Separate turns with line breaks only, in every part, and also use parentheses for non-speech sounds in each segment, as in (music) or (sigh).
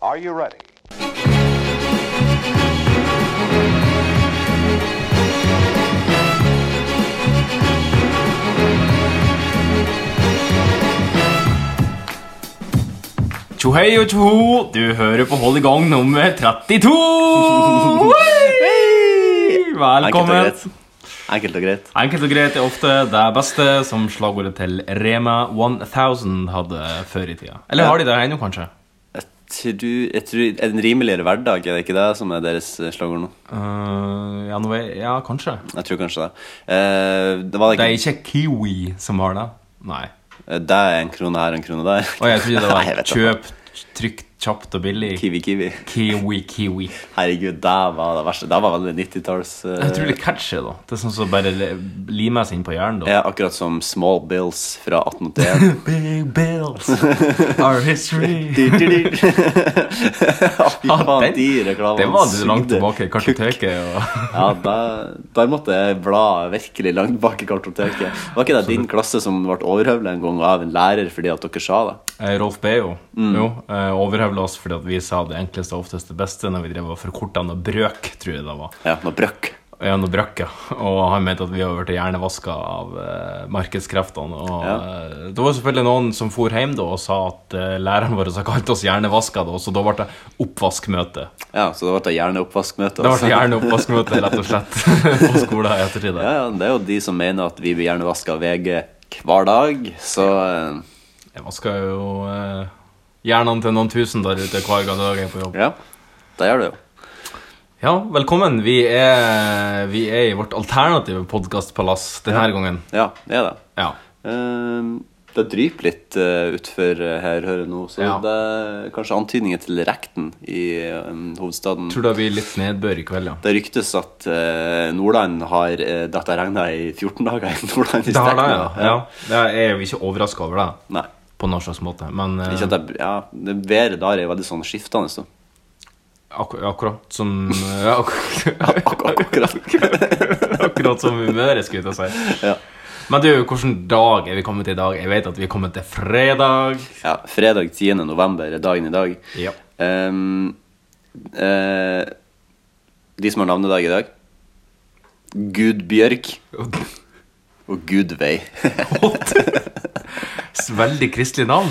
Are you ready?
Tjohei og tjoho, du hører på Hold i gang nummer
(laughs)
32! Hei! Velkommen.
Enkelt og greit. Enkelt og greit.
Enkelt og greit er ofte det beste, som slagordet til Rema 1000 hadde før i tida. Eller har de det ennå, kanskje?
Jeg tror, jeg tror En rimeligere hverdag, er det ikke det som er deres slagord nå?
Eh, ja, nå er, ja, kanskje.
Jeg tror kanskje det. Eh, det var
Det
ikke
er ikke Kiwi som har det. Nei.
Eh, Det er en krone her og en krone der.
Og jeg
(laughs)
trodde
Nei,
det
jeg
var
vet
kjøp trygt, kjapt og billig.
Kiwi Kiwi.
Kiwi, kiwi.
Herregud, det var det verste. Det var veldig 90-talls eh,
Utrolig catchy, da. Det er sånn som bare le- limer seg inn på hjernen. da
ja, Akkurat som Small Bills fra
(laughs)
(laughs) 1881.
Big bills Our (laughs) history
Du, du, du. Ja, Fy
Ja,
faen,
den-
de reklamene
Det var du langt
sugde.
tilbake i kartoteket og...
Ja, der, der måtte jeg bla virkelig langt bak i kartoteket. Var ikke det din klasse som ble overhøvla en gang av en lærer fordi at dere sa det?
Eh, Rolf Beo Jo, eh, overhøvla oss fordi at vi sa det enkleste og oftest det beste Når vi drev og forkortet noe brøk, tror jeg det var
Ja, noe brøkk.
Ja, noe brøk, ja Og han mente at vi hadde vært hjernevasket av eh, markedskreftene Og eh, det var selvfølgelig noen som for hjem da Og sa at eh, læreren vår hadde kalt oss hjernevasket da Så da ble det oppvaskmøte
Ja, så det ble det gjerne oppvaskmøte.
Da ble
altså.
det hjerneoppvaskmøte, rett og slett (laughs) På skolen i ettertid
Ja, ja, det er jo de som mener at vi blir hjernevaska av VG hver dag, så eh,
Jeg vasker jo eh, hjernene til noen tusen der ute hver gang dag jeg er på jobb.
ja. Det gjør det jo.
Ja, velkommen. Vi er, vi er i vårt alternative podkastpalass denne gangen.
Ja, det er det.
Ja.
Eh, det dryper litt uh, utfor eh, her, hører jeg nå, så
Ja.
det er kanskje antydninger til rekten i eh, hovedstaden.
Tror det blir litt nedbør i kveld, ja.
Det ryktes at eh, Nordland har uh, dette regna i 14 dager. i Nordland i
Det har det, ja.
strekk nå.
ja. Det er jo ikke overraska over det,
Nei.
på noen slags måte. Men eh,
Ikke at det, ja, det været der er veldig sånn skiftende. Så. (laughs)
akkur akkurat som eh, ja, akkur
Ak akkurat.
(laughs)
(laughs)
Akkurat som humøret, skulle jeg til å si.
Ja.
Men du, hvilken dag er vi kommet til i dag? Jeg vet at vi er kommet til fredag.
ja, fredag 10. november er dagen i dag.
Ja.
Ehm, eh, de som har navnedag i dag Gud Bjørk og Gud Vei. (laughs)
(laughs) Veldig kristelig navn.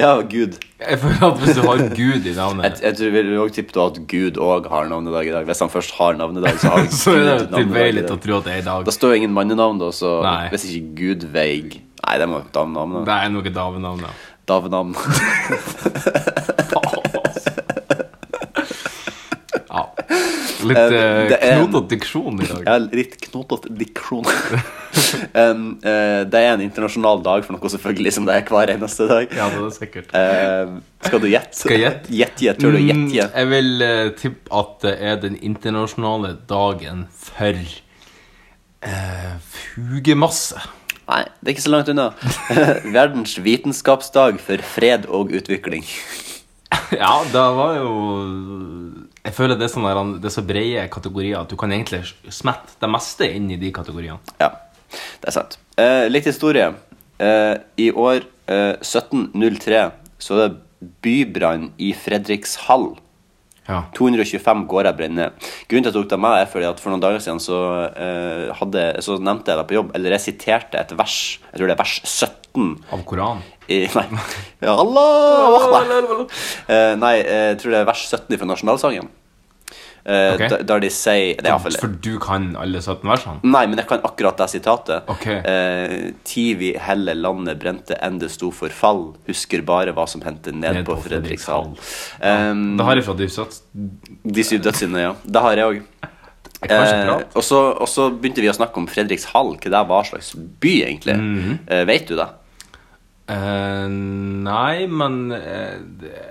ja, Gud.
Jeg føler at hvis du har Gud i
Jeg,
navnet,
jeg tror vi vil også tippe da at Gud òg har navnedag i dag. Hvis han først har navnedag, så
(laughs)
har
så er det
Gud navnedag. i
tilbøyelig
dag.
å tro at det er i dag.
Da står jo ingen mannenavn, da, så
Nei.
hvis ikke Gud veig Nei, det må jo damenavn. da.
Det er noe davenavn,
(laughs)
ja.
Davenavn.
ja. Litt
Eh,
uh,
det er-
knotete diksjon i dag.
Jeg har litt knotete diksjon. um, eh, det er (laughs) en internasjonal dag for noe, selvfølgelig, som det er hver eneste dag.
Ja, det er sikkert.
Eh, skal du gjette?
Skal jeg gjette?
Gjett, gjett. Tror du gjett,
Mm,
gjett?
jeg vil eh, tippe at det er den internasjonale dagen for eh, fugemasse.
Nei, det er ikke så langt unna. (laughs) Verdens vitenskapsdag for fred og utvikling.
(laughs) Ja, det var jo Jeg føler det er, sånn der, det er så brede kategorier at du kan egentlig smette det meste inn i de kategoriene.
Ja, det er sant. Eh, litt historie. Eh, I år eh, 1703 så er det bybrann i Fredrikshall.
Ja.
225 gårder brenner ned. Grunnen til at jeg tok det med, er fordi at for noen dager siden så, eh, hadde, så nevnte jeg det på jobb, eller jeg siterte et vers, jeg tror det er vers 17
Av Koranen.
i, (laughs) Nei. Ja, Allah! Eh, nei, jeg tror det er vers 17 fra nasjonalsangen. Eh,
Ok.
der- Der de sier Det er iallfall
For du kan alle 17 versene?
Nei, men jeg kan akkurat det sitatet.
Ok.
Eh, Tivi helle landet brente enn det sto for fall. Husker bare hva som hendte ned,
Ned
på,
på
Fredrikshall. Eh,
Det har jeg fra de satt
de syv dødssyndene, ja. Det har jeg òg.
Jeg kan ikke
Eh,
prate.
og, så, og så begynte vi å snakke om Fredrikshall, hva det var slags by, egentlig.
Mhm.
eh, vet du det?
Eh, nei, men eh, det-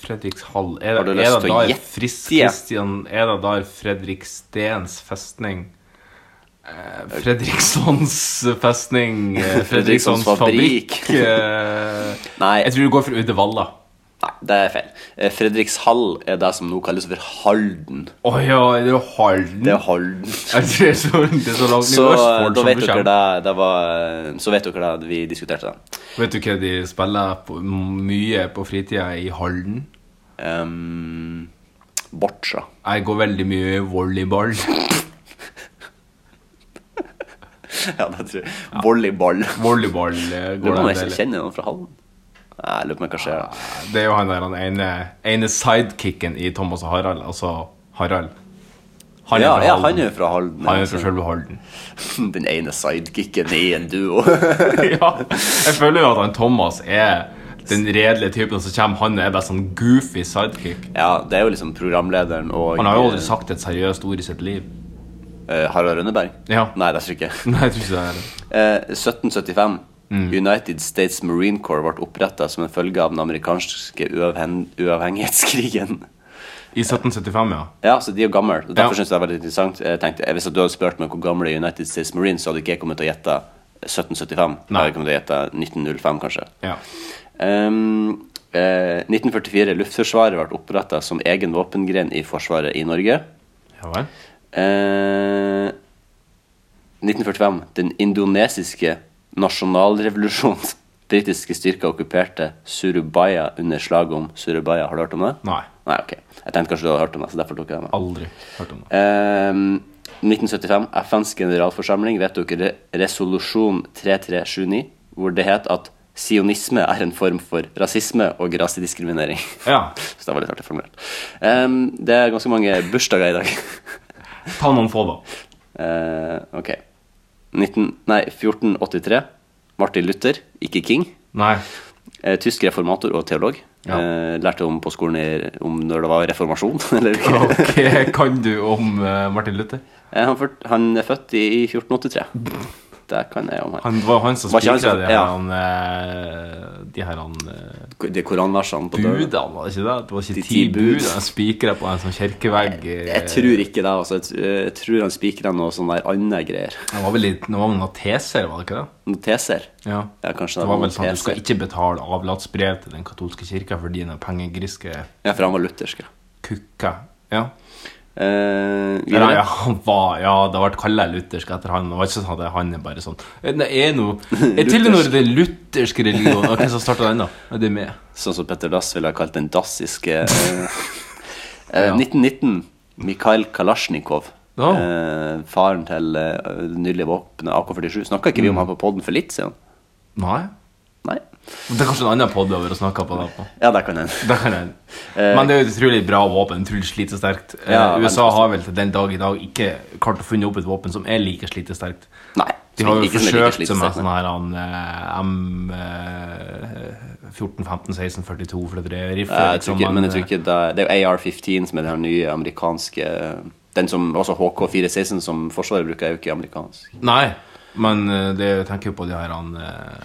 Fredrikshall Er
Har
det,
du
er
lyst
det
til å
der
gjette?
Fris, Christian, Er det der Fredrikstens festning eh, Fredrikssons festning
(laughs)
eh, Fredrikssons
Fredrikssons
fabrikk,
fabrikk.
eh,
Nei.
Jeg tror du går for Uddevalla.
Nei, det er feil. Eh, Fredrikshall er det som nå kalles for Halden.
Å ja, det er jo Halden.
Det er Halden.
Jeg tror det er så, det er så langt
Så
ned i
eh,
Østfold Mm.
da
som
vet
du
dere
kommer.
det, det var, eh, Så vet dere det, vi diskuterte det.
Vet du hva de spiller på, mye på fritida i Halden?
Um, Boccia.
Jeg går veldig mye volleyball. (laughs)
(laughs) Ja, det tror jeg. Volleyball.
Volleyball eh,
Lurer
går
på
det en
om jeg ikke
del.
kjenner noen fra Hallen. Nei, jeg lurer på om jeg kanskje gjør det.
Det er jo han der han ene, ene sidekicken i Thomas og Harald, altså Harald. Han er
Ja,
fra
ja,
Halden.
han er jo altså. fra Halden.
Han er
ja,
fra
så-
selve Halden. (laughs)
(laughs) Den ene sidekicken i en duo. (laughs)
ja. Jeg føler jo at han Thomas er den redelige typen som kommer. Han er bare sånn goofy sidekick.
ja, det er jo liksom programlederen og
Han har jo aldri sagt et seriøst ord i sitt liv. (laughs)
eh, Harald Rønneberg.
Ja.
Nei, det er ikke.
Nei, jeg tror ikke det er det.
Eh, 1775.
Mm.
United States Marine Corps ble oppretta som en følge av den amerikanske uavhen uavhengighetskrigen.
I 1775, ja.
Ja, så de er jo gamle. og Derfor
Ja.
synes jeg det er veldig interessant. Jeg tenkte, eh, Hvis at du hadde spurt meg hvor gamle er United States Marines, så hadde ikke jeg kommet til å gjette 1775.
Nei.
Da hadde jeg kommet til å gjette 1905, kanskje.
ja.
Ehm, eh, 1944. Luftforsvaret ble oppretta som egen våpengren i Forsvaret i Norge.
Ja vel.
Eh, 1945. Den indonesiske nasjonalrevolusjonen. (laughs) Britiske styrker okkuperte Surubaya under slaget om Surubaya. Har du hørt om det?
Nei.
Nei, ok. Jeg tenkte kanskje du hadde hørt om det, så derfor tok jeg det med.
Aldri hørt om det.
Ehm, 1975. FNs generalforsamling vedtok re resolusjon 3379, hvor det het at sionisme er en form for rasisme og rasediskriminering.
Ja.
(laughs) Så det var litt artig formulert. Ehm, det er ganske mange bursdager i dag. (laughs)
Ta noen få, da.
Eh, ok. 19, nei, 1483. Martin Luther, ikke King.
Nei.
Eh, tysk reformator og teolog.
Ja.
Eh, lærte om på skolen i, om når det var reformasjon. (laughs) Eller,
(laughs) Ok, kan du om eh, Martin Luther?
Eh, han, fyrt- han er født i, i 1483. Det kan jeg om her.
Han det var jo han som
Var ikke han
spikra
som-
de her,
ja.
han, eh, de her han, eh,
De koranversene på døra.
budene, var det ikke det? Det var
De
ikke ti
ti bud.
bud han spikra på en sånn kirkevegg.
Jeg
eh,
tror ikke det. altså. Jeg, tr- jeg tror han spikra noe sånn der andre greier.
Det var vel litt, det var vel noen teser, var det ikke det?
Noen teser.
Ja.
Ja, kanskje
Det
det
var
var
vel
noen
sånn, Du skal
teser.
ikke betale avlatsbrev til den katolske kirka for dine pengegriske
Ja, for han var luthersk. ja.
kukker. Ja.
Eh,
Eller,
videre.
ja, han var, ja, det har vært kallet luthersk etter han. Det var ikke sånn at han er bare sånn Det er
(laughs)
noe er Til og med når det er luthersk religion, og hvem som starta den, da? Er det med?
Sånn som Petter Dass ville ha kalt den
(laughs)
dassiske eh, eh,
Ja.
1919. Mikhail Kalasjnikov.
Ja.
Eh, faren til eh, det nylig våpenet AK-47. Snakka ikke vi
Mm.
om han på poden for litt siden?
Nei?
Nei?
Det er kanskje en annen podd over å snakke på det på.
Ja, det kan hende.
Det kan hende. Men det er jo et utrolig bra våpen. Utrolig slitesterkt. Eh,
Eh. Ja, veldig
USA har vel til den dag i dag ikke klart å finne opp et våpen som er like slitesterkt.
Nei.
De har jo
Ikke
forsøkt
som er like
seg med
slitsomt,
sånn her han, eh, M eh, 14, 15, 16, 42 for det er rifle,
Jeg tror
liksom,
ikke, men jeg tror
eh,
ikke det, det er jo AR-15 som er den her nye amerikanske Den som også HK416 som Forsvaret bruker, er jo ikke amerikansk.
Nei, men eh, det, jeg tenker jo på de her han, eh,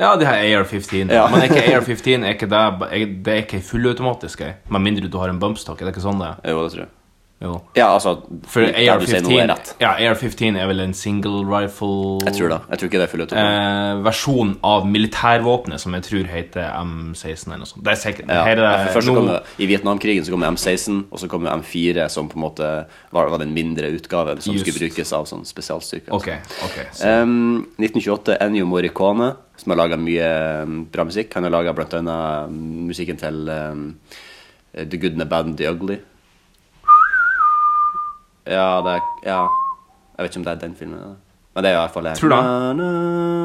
Ja, de her AR-15.
Ja.
Men er
(laughs)
ikke AR-15 er ikke det, er- det er ikke fullautomatisk, eh, med mindre du har en bumpstock. Er det ikke sånn det er?
Jo, det tror jeg.
Jo.
Ja, altså
For
det du sier nå, er
AR-15
rett.
ja, AR-15 er vel en single rifle
Jeg tror det. Jeg tror ikke det er full automat.
eh, versjon av militærvåpenet som jeg tror heter M16 eller noe sånt. Det er sikkert.
Ja.
Her
ja, for
er
først så
nå-
kom det, I Vietnamkrigen så kom det M16, og så kom det M4, som på en måte var, var den mindre utgaven som
Just.
skulle brukes av sånn spesialstyrker.
Ok, ok. Så,
Eh, Em, 1928, Ehm, Ennio Morricone, som har laga mye em, bra musikk. Han har laga bl.a. ehm, musikken til em, The Good and the Bad and the Ugly. Ja, det er Ja. Jeg vet ikke om det er den filmen. eller? Men det er i hvert fall det.
Tror du det?
Na, na,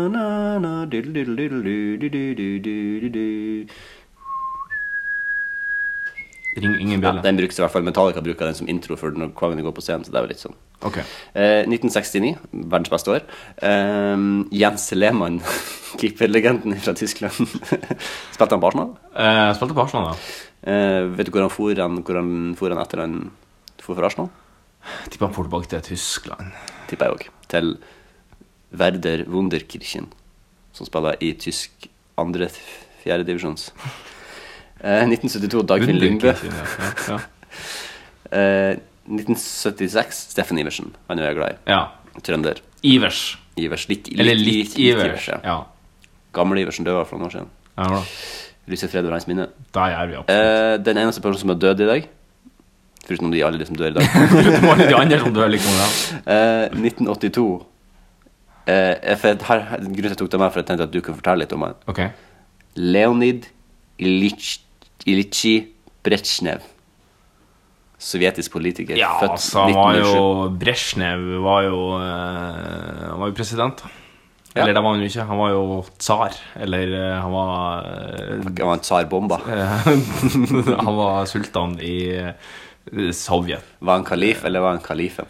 na, na, diddle-diddle-diddle-du-du-du-du-du-du.
ring ingen
Ja,
bjelle.
den brukes i hvert fall. Metallica bruker den som intro for når Kvangen går på scenen. Så det er jo litt sånn
Ok.
Eh, 1969, verdens beste år. Eh, Jens Lehmann, (laughs) keeperlegenden fra Tyskland. (laughs) Spilte han på Arsenal?
Eh, spilte på Arsenal, da.
Eh, vet du hvor han for han, hvor han, for han etter han for for Arsenal?
Tipper han får tilbake til Tyskland.
Tipper jeg òg. Til Werder Wunderkirchen, som spiller i tysk andre fjerdedivisjons. Eh, 1972, Dagfinn Lyngve.
Underkirken, ja. Ja.
Eh, 1976, Steffen Iversen. Han er jeg glad i.
ja.
Trønder.
Ivers.
Ivers. Litt, litt,
Eller litt Ivers.
ja.
Ja.
Gamle Iversen døde for noen år siden.
ja da.
Lyset fred over hans minne.
Da er vi oppe. (laughs)
Eh, den eneste personen som er død i dag, foruten de alle som dør i dag,
(laughs) Utenom alle de andre som dør liksom. Ja.
eh, 1982 eh, jeg- for jeg- her, her- Grunnen til at jeg tok det med, for jeg tenkte at du kunne fortelle litt om han.
Ok.
Leonid Ilyich Ilichi Bretsjnev. Sovjetisk politiker.
Ja,
født
altså, han var
1907.
jo Brezjnev var jo eh, Han var jo president.
Ja.
Eller det var han jo ikke. Han var jo tsar. Eller eh, han var eh,
Han var en tsarbomba.
eh, (laughs) Han var sultan i eh, Sovjet.
Var han kalif, eller var han kalifen?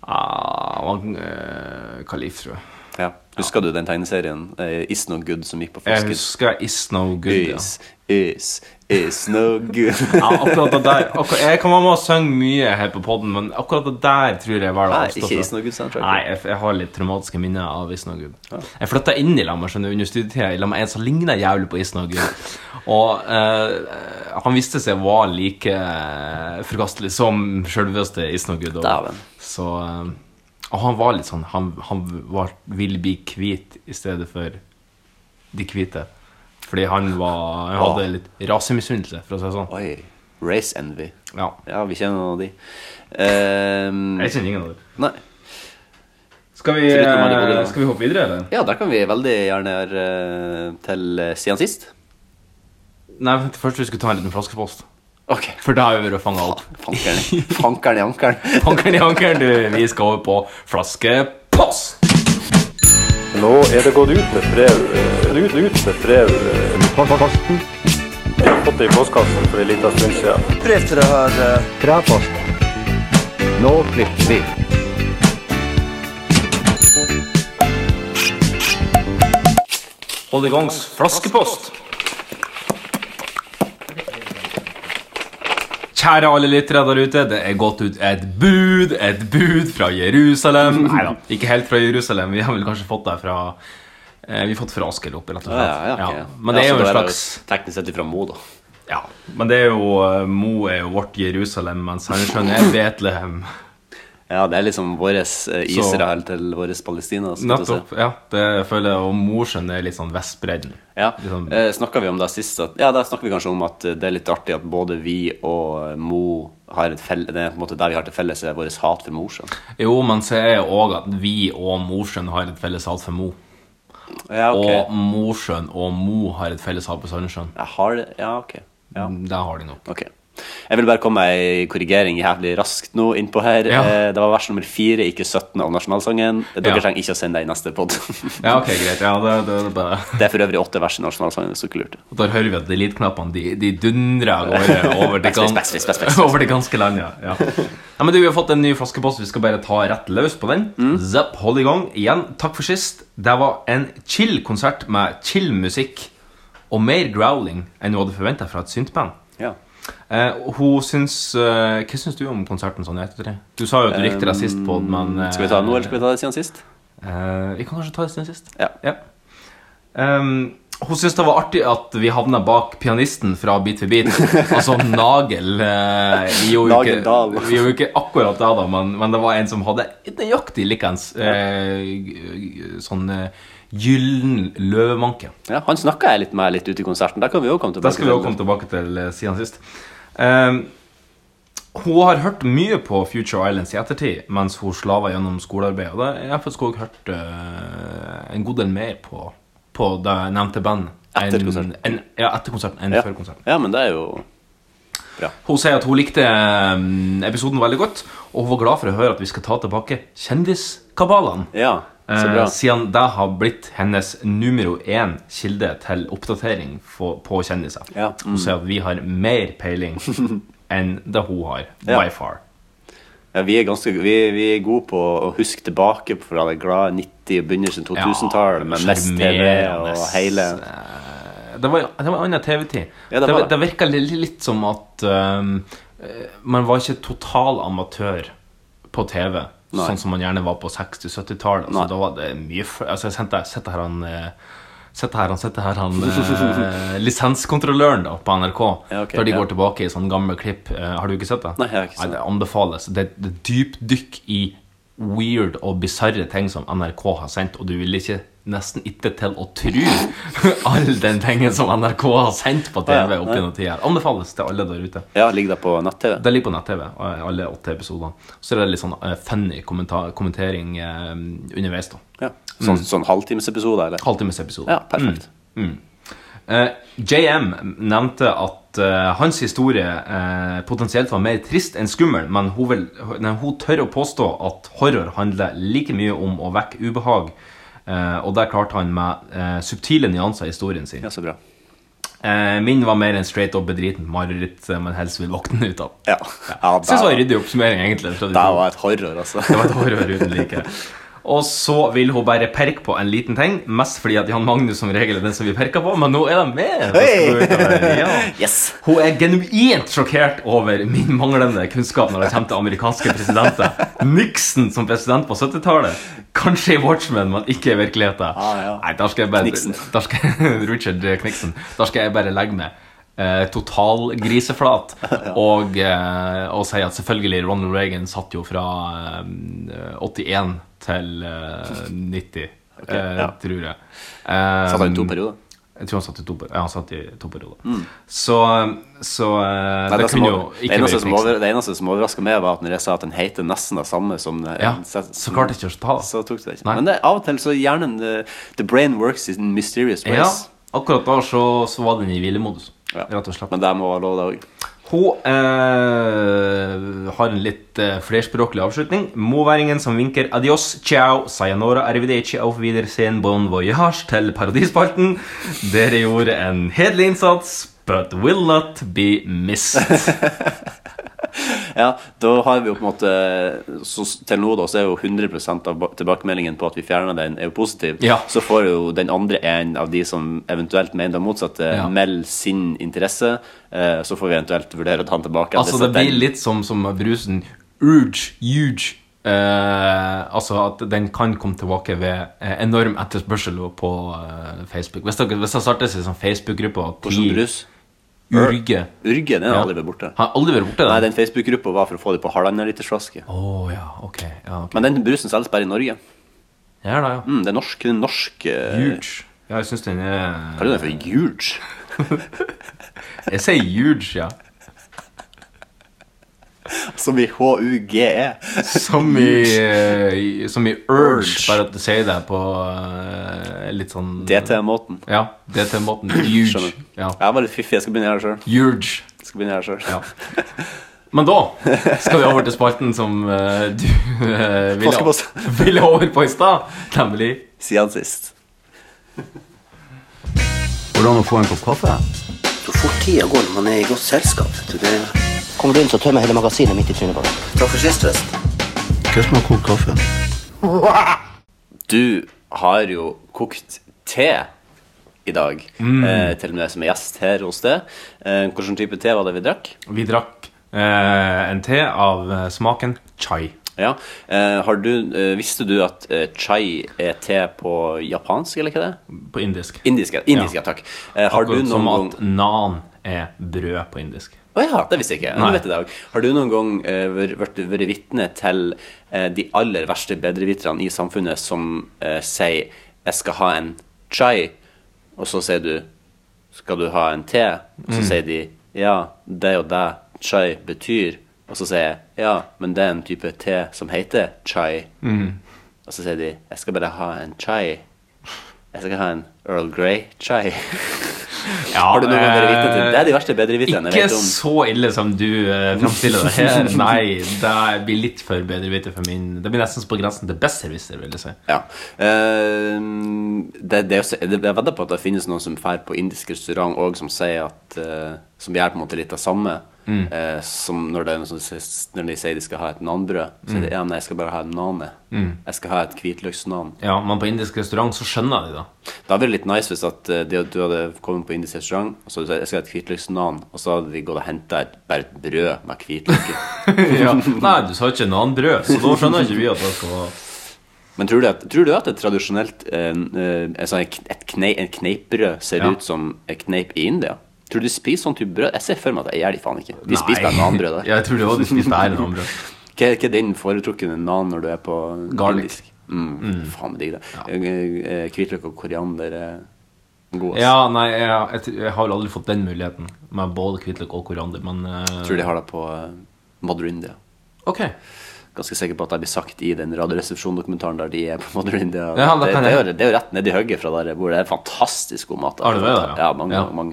Ah, han var eh, kalif, tror jeg.
Ja. Husker du den tegneserien eh, Is No Good som gikk på
Jeg
Foskus?
husker Is No Good. Ja.
Is, is, is no good
(laughs) Ja, akkurat det der akkurat, Jeg kan være med og synge mye her på podden, men akkurat det der tror jeg var det
Nei,
avstått
ikke
fra.
Is No Good soundtrack.
Nei, jeg, jeg har litt traumatiske minner av Isnogud. Jeg flytta inn i Lammer skjønner du, under studietida i lag med en som ligna jævlig på Isnogud. Og eh, han viste seg å være like eh, forkastelig som sjølveste Isnogud.
Dæven.
Så eh, Og han var litt sånn Han, han var, ville bli hvit i stedet for de hvite. Fordi han var Han hadde litt rasemisunnelse, for å si det sånn.
Oi. Race envy.
Ja.
Ja, vi kjenner noen av de. Ehm,
Jeg kjenner ingen av dere.
nei.
Skal vi,
Foruten Manny
eh,
Bolin.
skal vi hoppe videre, eller?
Ja, der kan vi veldig gjerne gjøre eh, til eh, siden sist.
Nei, vent, først vi skulle ta en liten flaskepost.
Ok.
For da har vi vært fanga opp. (laughs)
Fankeren fankeren i ankeren.
Ankeren i ankeren, du. Vi skal over på flaskepost.
Nå er det gått ut et brev. eh, Ut, ut et brev. eh, Jeg har fått det i postkassen for en liten stund siden.
Hold i gangs flaskepost. Kjære alle lyttere der ute, det er gått ut et bud, et bud fra
(laughs)
Jerusalem. Nei da, ikke helt fra Jerusalem. Vi har vel kanskje fått det fra eh, Vi har fått fra Askelopp, rett og
Ja,
slett.
ja, ja, ok.
Ja, Men det er
Ja, så
jo en
da
slags
Teknisk sett ifra Mo, da.
Ja, men det er jo eh, Mo er jo vårt Jerusalem, mens Sandnessjøen er Betlehem.
Ja, det er liksom vår Israel til vår Palestina. (laughs) skal du si.
Nettopp. Ja, det føler jeg. Og Mosjøen er litt sånn Vestbredden.
Ja,
Liksom-
eh, snakket vi om det sist at, Ja, da snakket vi kanskje om at eh, det er litt artig at både vi og eh, Mo har et felles Det er på en måte der vi har til felles er vårt hat for Mosjøen.
Jo, men så er jo òg at vi og Mosjøen har et felles hat for Mo.
Ja, ok.
Og Mosjøen og Mo har et felles hat på Sandnessjøen.
Jeg har det Ja, ok. Ja,
Det har de nå.
ok. Jeg vil bare komme med ei korrigering jævlig raskt nå innpå her.
Ja.
Eh, Det var vers nummer fire, ikke 17 av nasjonalsangen. Dere
Ja.
trenger ikke å sende det i neste pod.
Ja, ok, greit. Ja, det, det, det, bare-
(laughs) det er for øvrig åtte vers i nasjonalsangen, hvis dere lurte.
Og Da hører vi at delete-knappene de, de dundrer av
(laughs)
gårde over det gan-
Backspace, backspace, backspace.
(laughs) over det ganske land. Ja. Ja. Nei, men du, Vi har fått en ny flaskepost. Vi skal bare ta rett løs på den.
Mm.
Zapp, hold i gang. Igjen, takk for sist. Det var en chill konsert med chill musikk og mer growling enn hun hadde forventa fra et syntband.
Ja.
Eh, hun syns eh, Hva syns du om konserten sånn i ettertid? Du sa jo at du likte det sist, på den, men eh,
Ehm, Skal vi ta det nå, eller skal vi ta det siden sist?
Eh, vi kan kanskje ta det siden sist.
Ja.
Ehm, hun syntes det var artig at vi havna bak pianisten fra Beat for beat. Altså Nagel. eh, vi gjorde jo ikke-
Nagel Dahl.
Vi gjorde jo ikke akkurat det, da, men, men det var en som hadde nøyaktig likens eh, g- sånn eh, gyllen løvemanke.
Ja, han snakka jeg litt med litt ute i konserten. Der kan vi jo komme tilbake
Det skal vi også komme tilbake til eh, siden sist. Ehm, hun har hørt mye på Future Islands i ettertid mens hun slava gjennom skolearbeid. Og det- jeg har faktisk også hørt eh, en god del mer på, på det nevnte bandet.
Etter
enn-
konserten.
enn- ja, etter konserten enn
Ja.
før konserten.
ja, men det er jo bra.
Hun sier at hun likte eh, episoden veldig godt, og hun var glad for å høre at vi skal ta tilbake kjendiskabalene.
Ja, så
Eh,
bra.
siden det har blitt hennes numero én kilde til oppdatering for, på kjendiser.
Ja. Mm.
Hun sier at vi har mer
(laughs)
peiling enn det hun har,
Ja.
by far.
Ja, vi, er ganske, vi, vi er gode på å huske tilbake fra det glade 90- og begynnelsen av 2000-tallet med mest TV og
sjarmerende.
hele
Eh, Det var, det var en annen TV-tid.
Ja,
det
det var
det, virka litt, litt som at ehm, eh, man var ikke total amatør på TV.
Nei.
Sånn som man gjerne var på 60-70-tallet.
Nei.
Altså, da var det mye f- altså, jeg sendte, sette her han eh, Sette her han, sette her han
(laughs)
eh, Lisenskontrolløren da, på NRK.
Ja, ok,
der de
ja.
går tilbake i sånne gamle klipp. Eh, har du ikke sett det?
Nei, jeg har ikke sett
det eh, anbefales. Det, det er dypdykk i weird og bisarre ting som NRK har sendt, og du vil ikke nesten ikke til å tro (laughs) all den tingen som NRK har sendt på
Ja,
TV
ja,
opp
nei.
gjennom tida. Anbefales til alle der ute.
Ja, ligger det på nett-TV?
Det ligger på nett-TV, eh, alle åtte episodene. Så er det litt sånn eh, funny kommenta- kommentering eh, underveis. da Mm.
Ja. Sånn, sånn halvtimesepisode, eller?
Halvtimesepisode.
Ja, perfekt.
Mm. Eh, JM nevnte at eh, hans historie eh, potensielt var mer trist enn skummel, men hun, vil, nei, hun tør å påstå at horror handler like mye om å vekke ubehag, eh, og der klarte han med eh, subtile nyanser i historien sin.
Ja, så bra.
Eh, min var mer en straight up bedriten mareritt eh, man helst vil våkne ut av.
Ja. ja
Jeg synes det var en
det
ryddig oppsummering, egentlig. fra de to.
var et horror,
Det
altså.
var et horror uten like. Og så vil hun bare perke på en liten ting, mest fordi at Jan Magnus som regel er den som vi perker på, men nå er de med! Da skal vi ut av det. Ja.
(laughs) Yes!
Hun er genuint sjokkert over min manglende kunnskap når det kommer til amerikanske presidenter. Nixon som president på 70-tallet. Kanskje i Watchmen, men ikke i virkeligheten.
Ah, ja.
Nei, der skal jeg bare
Nixon.
der skal, (laughs) Richard Nixon. Der skal jeg bare legge meg eh, total
(laughs)
griseflat og, eh, og si at selvfølgelig Ronald Reagan satt jo fra eh, 81 til eh, 90, eh,
ja.
tror jeg.
Satt han i to
Eh,
perioder?
jeg tror han satt i to, per- ja, han satt i to perioder. Så, så eh,
Mm. Nei,
det,
det, som
kunne jo
over- det,
ikke
eneste
vært
som
Nixon.
over, det eneste som overraska meg, var at når jeg sa at den heter nesten det samme som den-
Ja,
så-
så klarte jeg ikke å ta det.
Så tok du det ikke.
Nei.
Men det, av og til så hjernen the, the brain works in mysterious
Ja,
ways.
akkurat da så, så var den i hvilemodus,
Ja.
rett og slett.
Men det må være lov, det òg.
Hun eh, har en litt eh, flerspråklig avslutning. Moværingen som vinker adios, ciao, sayonara, arrivederci, auf wiedersehen, bon voyage til Paradispalten. Dere gjorde en hederlig innsats, but will not be missed.
Ja, da har vi jo på en måte så, Til nå da, så er jo 100 av ba- tilbakemeldingen på at vi fjerner den, er jo positiv.
Ja.
Så får jo den andre en av de som eventuelt mener det motsatte,
Ja.
meld sin interesse. eh, Så får vi eventuelt vurdere å ta den tilbake.
Altså, det blir litt som, som brusen Urge, huge eh, Altså at den kan komme tilbake ved eh, enorm etterspørsel på eh, Facebook. Hvis det, hvis det starter seg som Facebook-gruppe og
Hvordan brus?
Urge
Urge, den har
Ja.
aldri vært borte.
Har aldri vært borte,
Nei,
den?
den Facebook-gruppa var for å få det på halvannen liters flaske.
Å ja, ok. Ja, ok.
Men den brusen selges bare i Norge.
ja da, ja.
Mm, det er norsk. Det er norsk eh,
Huge. Ja, jeg syns den er
Hva er det for huge?
Jeg sier huge, ja.
Som i H-U-G-E.
Som i, eh, som i urge,
Urge.
bare at du sier det på eh, litt sånn
DT-måten.
Ja, DT-måten. Huge.
Skjønner.
Ja.
Jeg var litt fiffig. Jeg skal begynne her sjøl.
Huge.
Skal begynne her selv.
Ja. Men da skal vi over til spalten som eh, du eh, ville,
Påskepost.
(laughs) ville over på i stad, nemlig
Siden sist.
Går det an å få en kopp kaffe?
Så fort tida går når man er i godt selskap. vet du, Det
Kommer du inn, så tømmer jeg hele magasinet midt i trynet på deg.
Takk for sist, forresten.
Hva som har kokt kaffe?
Du har jo kokt te i dag,
Mm.
eh, til og med som er gjest her hos deg. Eh, hvilken type te var det vi drakk?
Vi drakk eh, en te av eh, smaken chai.
Ja. Eh, har du, eh, visste du at eh, chai er te på japansk, eller hva det er?
På indisk.
Indisk, ja. Indisk, ja, takk. Eh, har du
Akkurat som
noen gang
at nan er brød på indisk.
Å ja, det visste jeg ikke. Nå
Nei.
vet jeg det også. Har du noen gang eh, vært- vært vært vitne til eh, de aller verste bedreviterne i samfunnet som eh, sier 'jeg skal ha en chai', og så sier du 'skal du ha en te', og så
Mm.
sier de 'ja, det og det chai betyr', og så sier jeg 'ja, men det er en type te som heter chai',
Mm.
og så sier de 'jeg skal bare ha en chai', jeg skal ha en Earl Grey chai'.
Eh,
Har du noen gang vært vitne til det? Det er de verste bedreviterne jeg
Ikke
vet om.
så ille som du eh, framstiller det her.
(laughs)
Nei, det blir litt for bedreviter for min Det blir nesten på grensen til besserwisser, vil jeg si.
Ja. Eh, det, det, er jo så- det, jeg vedder på at det finnes noen som drar på indisk restaurant òg, som sier at eh, Som gjør på en måte litt det samme. eh, som når, det, er noen som sier- når de sier de skal ha et nanbrød, så sier de ja, men jeg skal bare ha en nane. Jeg skal ha et hvitløksnan.
Ja, Men på indisk restaurant så skjønner de det.
Da ville det litt nice hvis at eh, det, at du hadde kommet på indisk restaurant, og så hadde du sagt jeg skal ha et hvitløksnan, og så hadde de gått og henta bare et brød med hvitløk i.
ja. (laughs) Nei, du sa ikke noe annet brød, så da skjønner ikke vi at det skal
Men tror du at, tror du at et tradisjonelt eh, eh, altså et, et kne, en kneippbrød ser
Ja.
ut som et kneip i India? Tror du de spiser sånn type brød? Jeg ser for meg at jeg gjør de faen ikke. De spiser bare nanbrød der.
(laughs) Ja, jeg tror det også de spiser bare
(laughs)
nanbrød.
Hva, hva er din foretrukne nan når du er på
Garlic.
indisk? Mm, Faen digg, det. Eh, eh, Hvitløk og koriander er gode.
Ja,
ass.
nei, jeg, jeg, tr- jeg har vel aldri fått den muligheten med både hvitløk og koriander, men eh,
Tror de har det på eh, Mother India.
Ok. (laughs)
ganske sikker på at det blir sagt i den Radioresepsjon-dokumentaren der de er på Mother India.
Ja, da
det,
kan
det, er
jeg-
jo, det er jo rett nedi hugget fra der jeg bor. Det er fantastisk god mat. da.
Har du det der, ja?
ja? mange,
Ja.
mange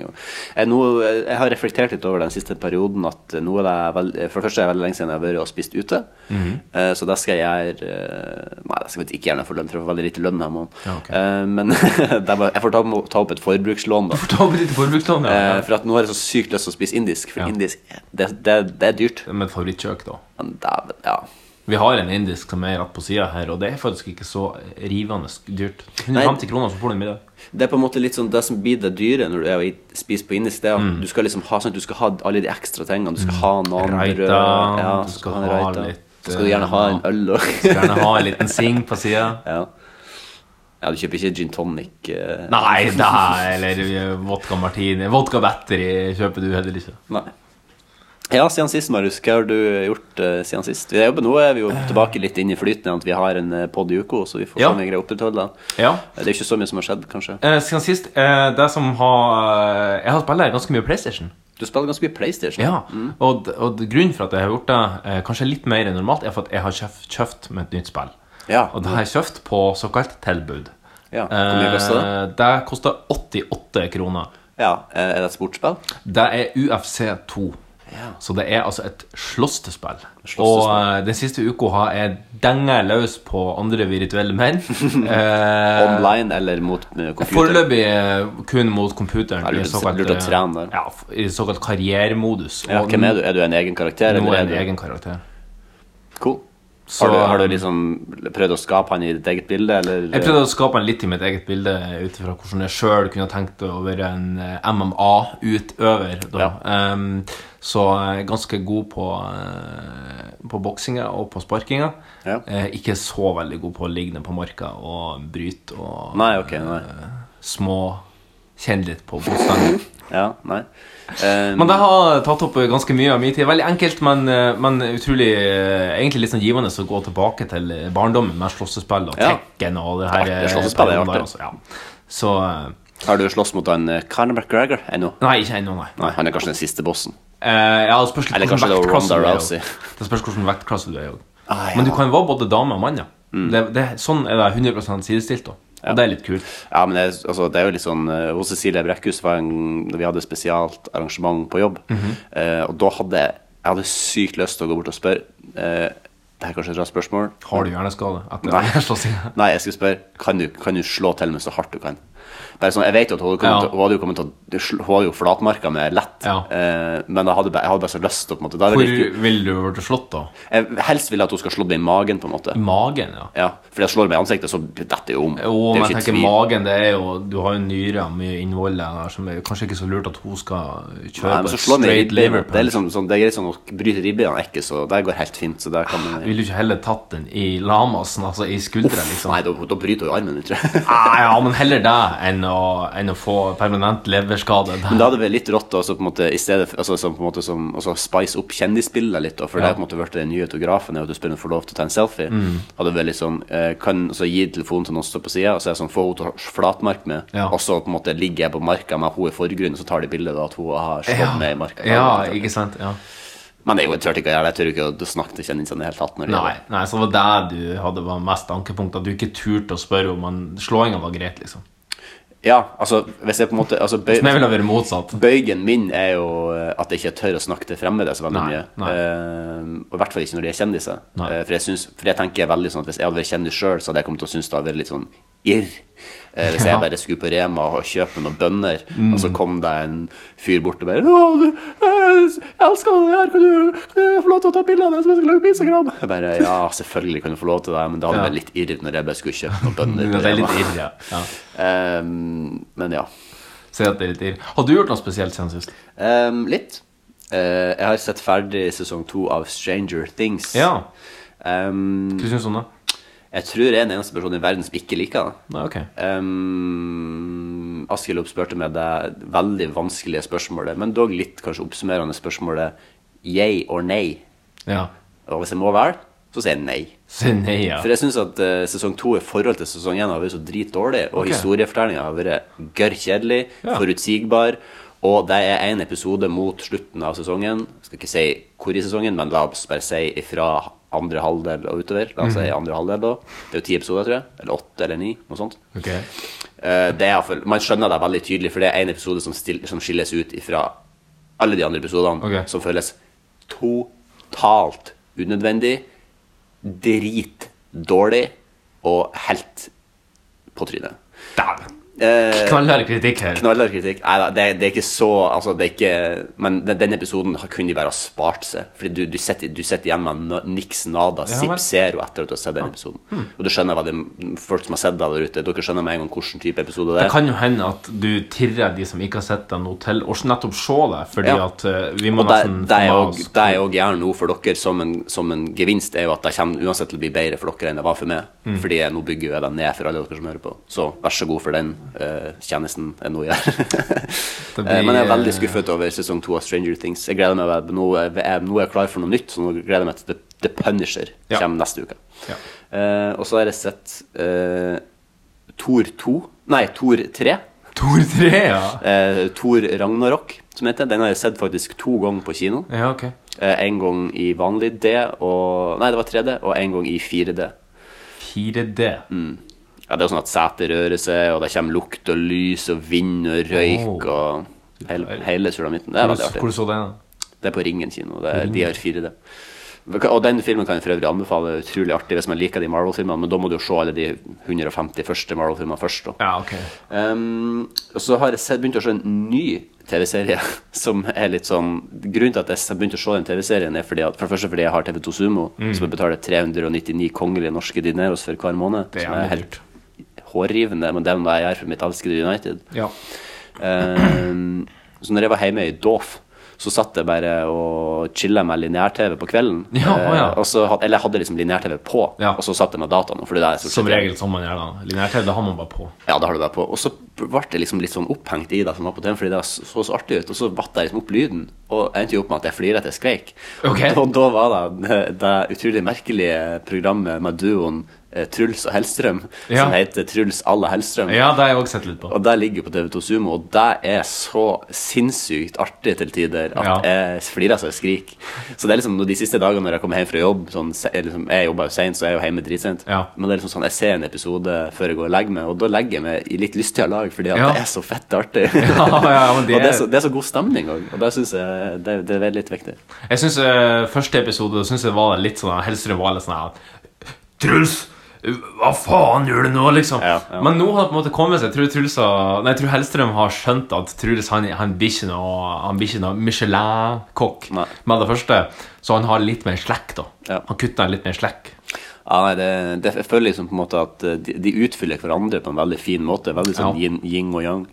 jeg, nå, jeg har reflektert litt over den siste perioden at nå er det vel, For det første er det veldig lenge siden jeg har vært og spist ute.
Mhm.
Eh, Så da skal jeg gjøre eh, Nei, da skal jeg ikke gjerne få lønn, for jeg får veldig lite lønn her måneden.
Ja, ok.
Eh, Men (laughs) det er bare- jeg får ta, ta opp et forbrukslån, da.
Ta opp litt forbrukslån, ja.
Eh, For at nå har jeg så sykt lyst til å spise indisk, for
Ja.
indisk det, det, det er dyrt.
ja. Med favorittkjøk, da.
Men dæven, ja.
Vi har en indisk som er rett på sida her, og det er faktisk ikke så rivende dyrt. 150 kroner, så får du en middag.
Det er på en måte litt sånn det som blir det dyre når du er og i- spiser på indisk, det er at
Mm.
du skal liksom ha sånn at du skal ha alle de ekstra tingene. Du skal ha noen
Raita,
brød, ja,
du
så
skal
en
ha
raita.
litt,
Så skal du gjerne ha en
eh,
øl og
Gjerne ha en liten sing på
(laughs)
sida.
ja. ja, du kjøper ikke gin tonic eh,
Nei da, eller eh, vodka martini. Vodka battery kjøper du heller ikke.
Nei. Ja, siden sist, Marius. Hva har du gjort eh, siden sist? Vi er jo, nå er vi jo tilbake litt inn i flyten igjen, at vi har en pod i uka, så vi får
Ja.
se om vi greier å opprettholde den. Eh,
Ja.
Det er jo ikke så mye som har skjedd, kanskje.
Eh, siden sist, eh, det som har eh, Jeg har spilt ganske mye PlayStation.
Du spiller ganske mye PlayStation.
Ja, og, d- og d- grunnen for at jeg har gjort det eh, kanskje litt mer enn normalt, er for at jeg har kjøpt, kjøpt med et nytt spill.
Ja.
Og det har jeg kjøpt på såkalt tilbud.
Ja, hvor mye koster det?
Eh, Det koster 88 kroner.
Ja, eh, Er det et sportsspill?
Det er UFC2. Så det er altså et slåssespill. Og
Slåssespill.
eh, den siste uka har jeg denga løs på andre virtuelle
(laughs)
menn. Eh,
Online eller mot eh, computer?
Foreløpig eh, kun mot computeren.
Ja, lurt
i
å-
såkalt,
lurt å
eh,
trene der.
Ja, f- i såkalt karrieremodus.
Ja,
Og
hvem er du? Er du en egen karakter?
Nå
eller
er
du-
jeg en egen karakter.
Cool.
Så-
har, du, har du liksom prøvd å skape han i ditt eget bilde, eller?
Jeg prøvde å skape en litt i mitt eget bilde eh, ut ifra hvordan jeg sjøl kunne tenkt å være en eh, MMA-utøver. da. Ehm, så jeg er ganske god på, eh, på boksinga og på sparkinga.
Ja.
Eh, ikke så veldig god på å ligge ned på marka og bryte og
Nei, ok, nei.
små Kjenne litt på motstanderen.
Ja, nei. Eh,
Men det har tatt opp ganske mye av min tid. Veldig enkelt, men, eh, men utrolig eh, egentlig litt sånn givende å gå tilbake til eh, barndommen med slåssespill og
Ja.
Tekken og det her.
Artig,
eh,
slåssespill er
perioden der,
artig.
altså, ja. Så eh,
har du slåss mot han eh, Conor McGregor ennå?
Nei, ikke ennå, nei.
Nei, han er kanskje den siste bossen.
Eh, ja, det spørs litt
Eller
hvordan
kanskje det var
vektklasse
Ronda
du er,
Rousey.
jo. Det spørs hvilken vektklasse du er. jo.
Ah, ja. Mm.
Men du kan være både dame og mann, ja. Det, det, sånn er det 100 sidestilt. da Og det er litt kult.
Ja, men det, er- altså, det er jo litt sånn eh, Hos Cecilie Brekkhus var en, vi hadde spesialt arrangement på jobb.
Mhm.
eh, og da hadde jeg jeg hadde sykt lyst til å gå bort og spørre eh, Det her er kanskje et rart spørsmål.
Har du hjerneskade etter (laughs)
Nei.
slåssinga?
Nei, jeg skulle spørre kan du, kan du slå til med så hardt du kan. Bare sånn, jeg vet jo at hun, hadde kommet
Ja.
til, hun hadde jo kommet til å sl- Hun hadde jo flatmarka med lett,
Ja.
eh, men jeg hadde, bare- jeg hadde bare så lyst til å på en måte, da er det
Hvor
litt kult.
vil du bli slått, da?
Jeg helst ville at hun skal slå det i magen, på en måte.
I magen, ja.
Ja, For jeg slår meg i ansiktet, så detter det jo om.
Jo, men
det
jeg
er jo
tenker
ikke tvil.
magen, det er jo Du har jo nyrer og mye innhold der som er kanskje ikke så lurt at hun skal kjøre
Nei, men
på
så
et
slår meg i
straight
ribbeina.
liver
Det er
punch.
liksom sånn, det er greit sånn å bryte ribbeina er ikke, så det går helt fint. Så det kan man
Vil du ikke heller tatt den i lamasen, altså i skuldra, liksom?
Nei, da, da bryter hun jo armen min, tror jeg.
(laughs) Ah, ja, men heller det enn å, enn å få permanent leverskade.
Men da hadde det vært litt rått å så på en måte, i stedet for, altså, som, på en måte, som, altså, spice opp kjendisbildet litt. da, for det har på en måte vært den nye autografen er jo at du spør om du får lov til å ta en selfie.
Mm.
Hadde vært litt sånn, eh, kan altså, gi telefonen til noen som står på sida, og så er det sånn, få henne til å flatmark med.
Ja.
Og så på en måte ligger jeg på marka med henne i forgrunnen, og så tar de bilde av at hun har slått
(laughs) ja.
med i marka.
ja, ikke sant? Ja.
Men det er jo, jeg tør ikke å gjøre det. Jeg tør ikke å snakke til kjendisene i det hele tatt. når det
Nei,
gjelder.
nei, så det var det du hadde var mest ankepunkt, at du ikke turte å spørre om han- slåinga var greit, liksom.
Ja, altså, hvis jeg på en måte altså, bøy-
Men jeg ville vært motsatt.
Bøygen min er jo eh, at jeg ikke tør å snakke til fremmede så veldig
Nei,
mye.
nei.
Eh, og i hvert fall ikke når de er kjendiser.
Nei.
Eh, for, jeg syns- for jeg tenker veldig sånn at hvis jeg hadde vært kjendis sjøl, så hadde jeg kommet til å synes det hadde vært litt sånn irr. Eh, hvis
Ja. Mm.
jeg bare skulle på Rema og kjøpe noen bønner, og så kom det en fyr bort og bare «Å, du, eh, jeg elsker det her, kan du, kan jeg få lov til å ta bilde av deg som jeg skal lage på Instagram? Jeg bare Ja, selvfølgelig kan du få lov til det, men det hadde
Ja.
vært litt irr når jeg bare skulle kjøpe noen bønner.
Mm, Det
på
er litt
Rema.
irr, ja. ja.
Eh, men ja.
Si at det er litt irr. Har du gjort noe spesielt siden sist?
Ehm, litt. Eh, jeg har sett ferdig sesong to av Stranger Things.
Ja.
Ehm,
Hva syns du om det?
jeg tror jeg er den eneste personen i verden som ikke liker det.
Nei, ok.
Um, Askild oppspørte meg det veldig vanskelige spørsmålet, men dog litt kanskje oppsummerende spørsmålet yay or nei.
Ja.
Og hvis jeg må velge, så sier jeg nei.
Si nei, ja.
For jeg syns at eh, sesong to i forhold til sesong én har vært så dritdårlig, og
Ok.
historiefortellinga har vært gørr kjedelig,
Ja.
forutsigbar, og det er én episode mot slutten av sesongen. Jeg skal ikke si hvor i sesongen, men la oss bare si ifra andre halvdel og utover. La oss
Mhm.
si andre halvdel, da. Det er jo ti episoder, tror jeg. Eller åtte eller ni, noe sånt.
Ok.
Eh, det er, i hvert fall- man skjønner det veldig tydelig, for det er en episode som, still, som skilles ut fra alle de andre episodene,
Ok.
som føles totalt unødvendig, dritdårlig og helt på trynet.
Dæven!
Eh,
Knallhard kritikk her.
Knallhard kritikk. Nei da, det, det er ikke så altså, det er ikke, Men den, den episoden har- kunne de bare ha spart seg. Fordi du, du, sitter, du sitter igjen med no- niks nada,
Ja,
zip
vel.
zero etter at du har sett den episoden. Og du skjønner hva det, folk som har sett deg der ute, dere skjønner med en gang hvilken type episode det
Det
er.
kan jo hende at du tirrer de som ikke har sett deg noe til, og nettopp se det, fordi
Ja.
at eh, vi må
Og det,
nesten
det er
få
jo
med oss-
det er jo gjerne nå for dere som en, som en gevinst, er jo at det kommer uansett til å bli bedre for dere enn det var for meg.
Mm.
Fordi jeg- nå bygger jeg det ned for alle dere som hører på. Så vær så god for den eh, tjenesten jeg nå gjør.
(laughs) Det
(laughs) Eh,
blir,
Men jeg
eh,
er veldig skuffet over sesong to av Stranger Things. Jeg gleder meg, vel- nå er jeg, nå er jeg klar for noe nytt, så nå gleder jeg meg til The, The Punisher
Ja.
kommer neste uke.
Ja.
Eh, og så har jeg sett eh, Tor 2, nei, Tor 3.
Tor 3, ja.
Eh, Tor Ragnarok, som heter. Den har jeg sett faktisk to ganger på kino.
Ja, ok.
Eh, en gang i vanlig D, og, nei, det var 3D, og en gang i 4D.
4D.
Mm, Ja, det er jo sånn at setet rører seg, og det kommer lukt og lys og vind og røyk og hele, hele sulamitten. Det er
Hvor
veldig artig.
hvor så du den?
Det er på Ringen kino. Det er, de har 4D. Og den filmen kan jeg for øvrig anbefale. Utrolig artig hvis man liker de Marvel-filmene, men da må du jo se alle de 150 første Marvel-filmene først. Da.
Ja, ok.
Ehm, og så har jeg sett, begynt å se en ny TV-serie (laughs) som er litt sånn Grunnen til at jeg begynte å se den TV-serien, er fordi at, for det første fordi jeg har TV2 Sumo,
Mm.
som jeg betaler 399 kongelige norske dineros for hver måned.
Det er
som er
jævlig
helt hårrivende, men det er noe jeg gjør for mitt elskede United.
Ja.
Ehm, så når jeg var hjemme i Doff, så satt jeg bare og chilla med lineær-TV på kvelden.
Ja, å ja.
Eh, og så had, eller jeg hadde liksom lineær-TV på,
Ja.
og så satt jeg med dataen. For det er stort
Som
sett-
regel som man gjør da. Linær-TV, det har man bare på.
Ja, det har du bare på. Og så ble jeg liksom litt sånn opphengt i det som var på TV, fordi det så så artig ut. Og så vatt jeg liksom opp lyden, og endte jo opp med at jeg flirte til jeg skreik.
Ok.
(laughs) Og da var det det utrolig merkelige programmet med duoen eh, Truls og Hellstrøm,
Ja.
som heter Truls alla Hellstrøm.
Ja, det har jeg også sett litt på.
Og der ligger jo på TV2 Sumo, og det er så sinnssykt artig til tider
Ja.
at jeg flirer så jeg skriker. Så det er liksom de siste dagene når jeg kommer hjem fra jobb sånn, se- eller liksom, Jeg jobber jo seint, så jeg er jo hjemme dritsent.
Ja.
Men det er liksom sånn, jeg ser en episode før jeg går og legger meg, og da legger jeg meg i litt lystige lag, fordi at
Ja.
det er så fett
(laughs)
artig.
ja, men det
(laughs) og det
er-
er, så, det er så god stemning òg, og det syns jeg det, det er veldig litt viktig.
Jeg syns eh, første episode synes jeg var litt sånn Hellstrøm var litt sånn her, Truls! Hva faen gjør du nå, liksom?
Ja, ja.
Men nå har det på en måte kommet seg. Jeg tror, Truls har, nei, jeg tror Hellstrøm har skjønt at Truls han, han blir ikke noe, han blir ikke noe Michelin-kokk
Nei.
med det første. Så han har litt mer slekk, da.
Ja.
Han kutter litt mer slekk.
Ja, nei, det, det, jeg føler liksom på en måte at eh, de, de utfyller hverandre på en veldig fin måte. Veldig
Ja.
sånn yin, yin og yang.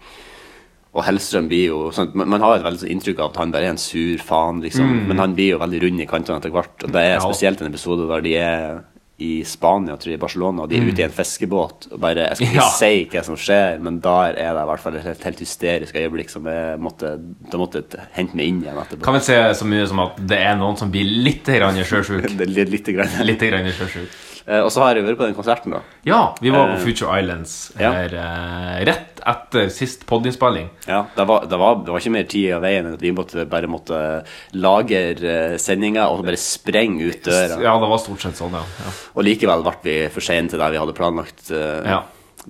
Og Hellstrøm blir jo sånn, man, man har et veldig sånn inntrykk av at han bare er en sur faen, liksom. Men han blir jo veldig rund i kantene etter hvert. Og det er
Mm. Ja.
spesielt en episode der de er i Spania, tror jeg, i Barcelona, og de er ute i en fiskebåt. Og bare, Jeg skal
Mm.
ikke
Ja.
si hva som skjer, men der er det i hvert fall et helt, helt hysterisk øyeblikk som jeg måtte, da måtte jeg hente meg inn igjen etterpå.
Kan vi se så mye som at det er noen som blir litt grann
(laughs)
sjøsjuk?
(laughs) Det er litt, litt grann.
Litt grann sjøsjuk.
Eh, Og så har jeg vært på den konserten, da.
Ja, vi var på Future Islands
Eh, ja.
her eh, rett etter sist podinnspilling.
Ja, det var, det, var, det var ikke mer tid av veien enn at vi måtte, bare måtte lagre sendinga og bare sprenge ut døra.
Ja, det var stort sett sånn, ja. ja.
Og likevel ble vi for sene til det vi hadde planlagt. eh.
Ja.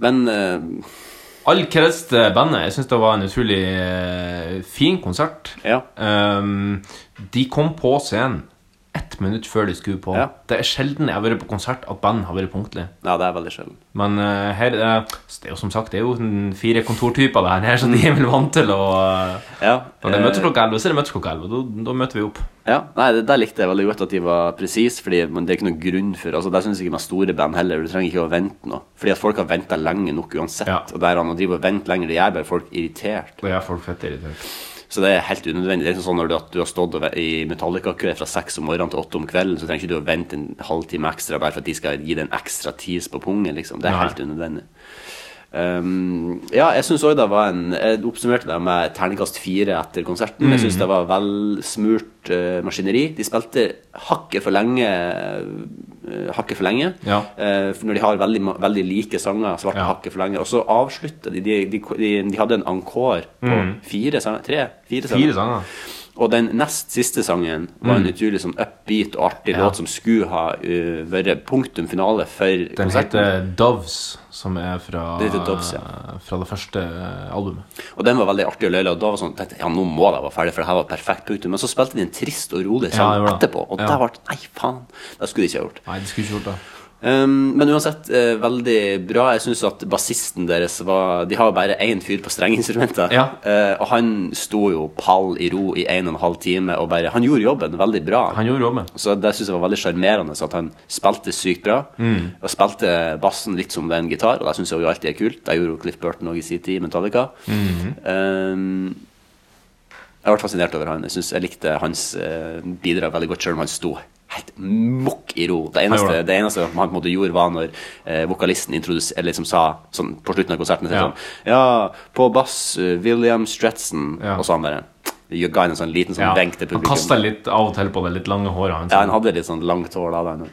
Men eh,
All kreds til bandet. Jeg syns det var en utrolig eh, fin konsert.
ja.
Ehm, de kom på scenen ett minutt før de skulle på.
Ja.
Det er sjelden jeg har vært på konsert at band har vært punktlig.
Nei, det er veldig sjelden.
Men eh, her eh, Det er jo som sagt Det er jo den fire kontortyper det her, så de er vel vant til å eh,
Ja,
Når det
eh,
møtes klokka 11, så er det møtes klokka 11. Da, da møter vi opp.
ja. Nei, det der likte jeg veldig godt at de var presise, Fordi men det er ikke noen grunn for Altså, Der syns jeg ikke med store band heller. Du trenger ikke å vente noe. Fordi at folk har venta lenge nok uansett.
Ja.
Og der han driver og venter lenger, det gjør bare folk irritert.
Da er folk fett irritert.
Så det er helt unødvendig. Det er sånn når du, at du har stått og ve- i Metallica-kø fra seks om morgenen til åtte om kvelden, så trenger ikke du å vente en halvtime ekstra bare for at de skal gi deg en ekstra tease på pungen, liksom. Det er
Nei.
helt unødvendig. Um, ja, jeg syns òg det var en Jeg oppsummerte det med terningkast fire etter konserten. Jeg
Mm.
syns det var velsmurt eh, maskineri. De spilte hakket for lenge. eh, hakket for lenge.
Ja.
Eh, for når de har veldig, ma- veldig like sanger, så ble det
Ja.
hakket for lenge. Og så avslutta de. De, de, de, de hadde en encore på fire sanger. Tre? Fire sanger.
Mm. Fire sanger.
Og den nest siste sangen var en utrolig sånn upbeat og artig
Ja.
låt som skulle ha eh, vært punktum finale for
Den
konserten.
heter Doves, som er fra
Det heter Doves, ja.
Fra det første eh, albumet.
Og den var veldig artig å løye, og da var sånn, tenkte jeg ja, nå må jeg være ferdig, for det her var perfekt punktum. Men så spilte de en trist og rolig sang
Ja, det var det.
etterpå, og
Ja.
der ble det Nei, faen! Det skulle de ikke ha gjort.
Nei, det skulle ikke gjort det.
Um, men uansett, eh, veldig bra. Jeg syns at bassisten deres var De har jo bare én fyr på strengeinstrumentet.
Ja.
Eh, og han sto jo pall i ro i en og en halv time og bare Han gjorde jobben veldig bra.
Han gjorde jobben.
Så det syns jeg var veldig sjarmerende at han spilte sykt bra.
Mm.
Og spilte bassen litt som det er en gitar, og det syns jeg jo alltid er kult. Det gjorde jo Cliff Burton òg i sin tid i Metallica.
Mm-hmm.
um, jeg ble fascinert over han. Jeg synes jeg likte hans eh, bidrag veldig godt, selv om han sto helt mokk i ro.
gjorde
Det eneste,
det.
det eneste han på en måte gjorde, var når eh, vokalisten introdus- eller liksom sa sånn, på slutten av konserten
Ja.
sånn, Ja, på bass eh, William Stretson.
Ja.
Og så han bare ga han en sånn liten sånn
Ja.
venk til
Han
publikum.
kasta litt av og til på det litt lange håret hans.
Ja, han hadde litt sånn langt hår da. Den.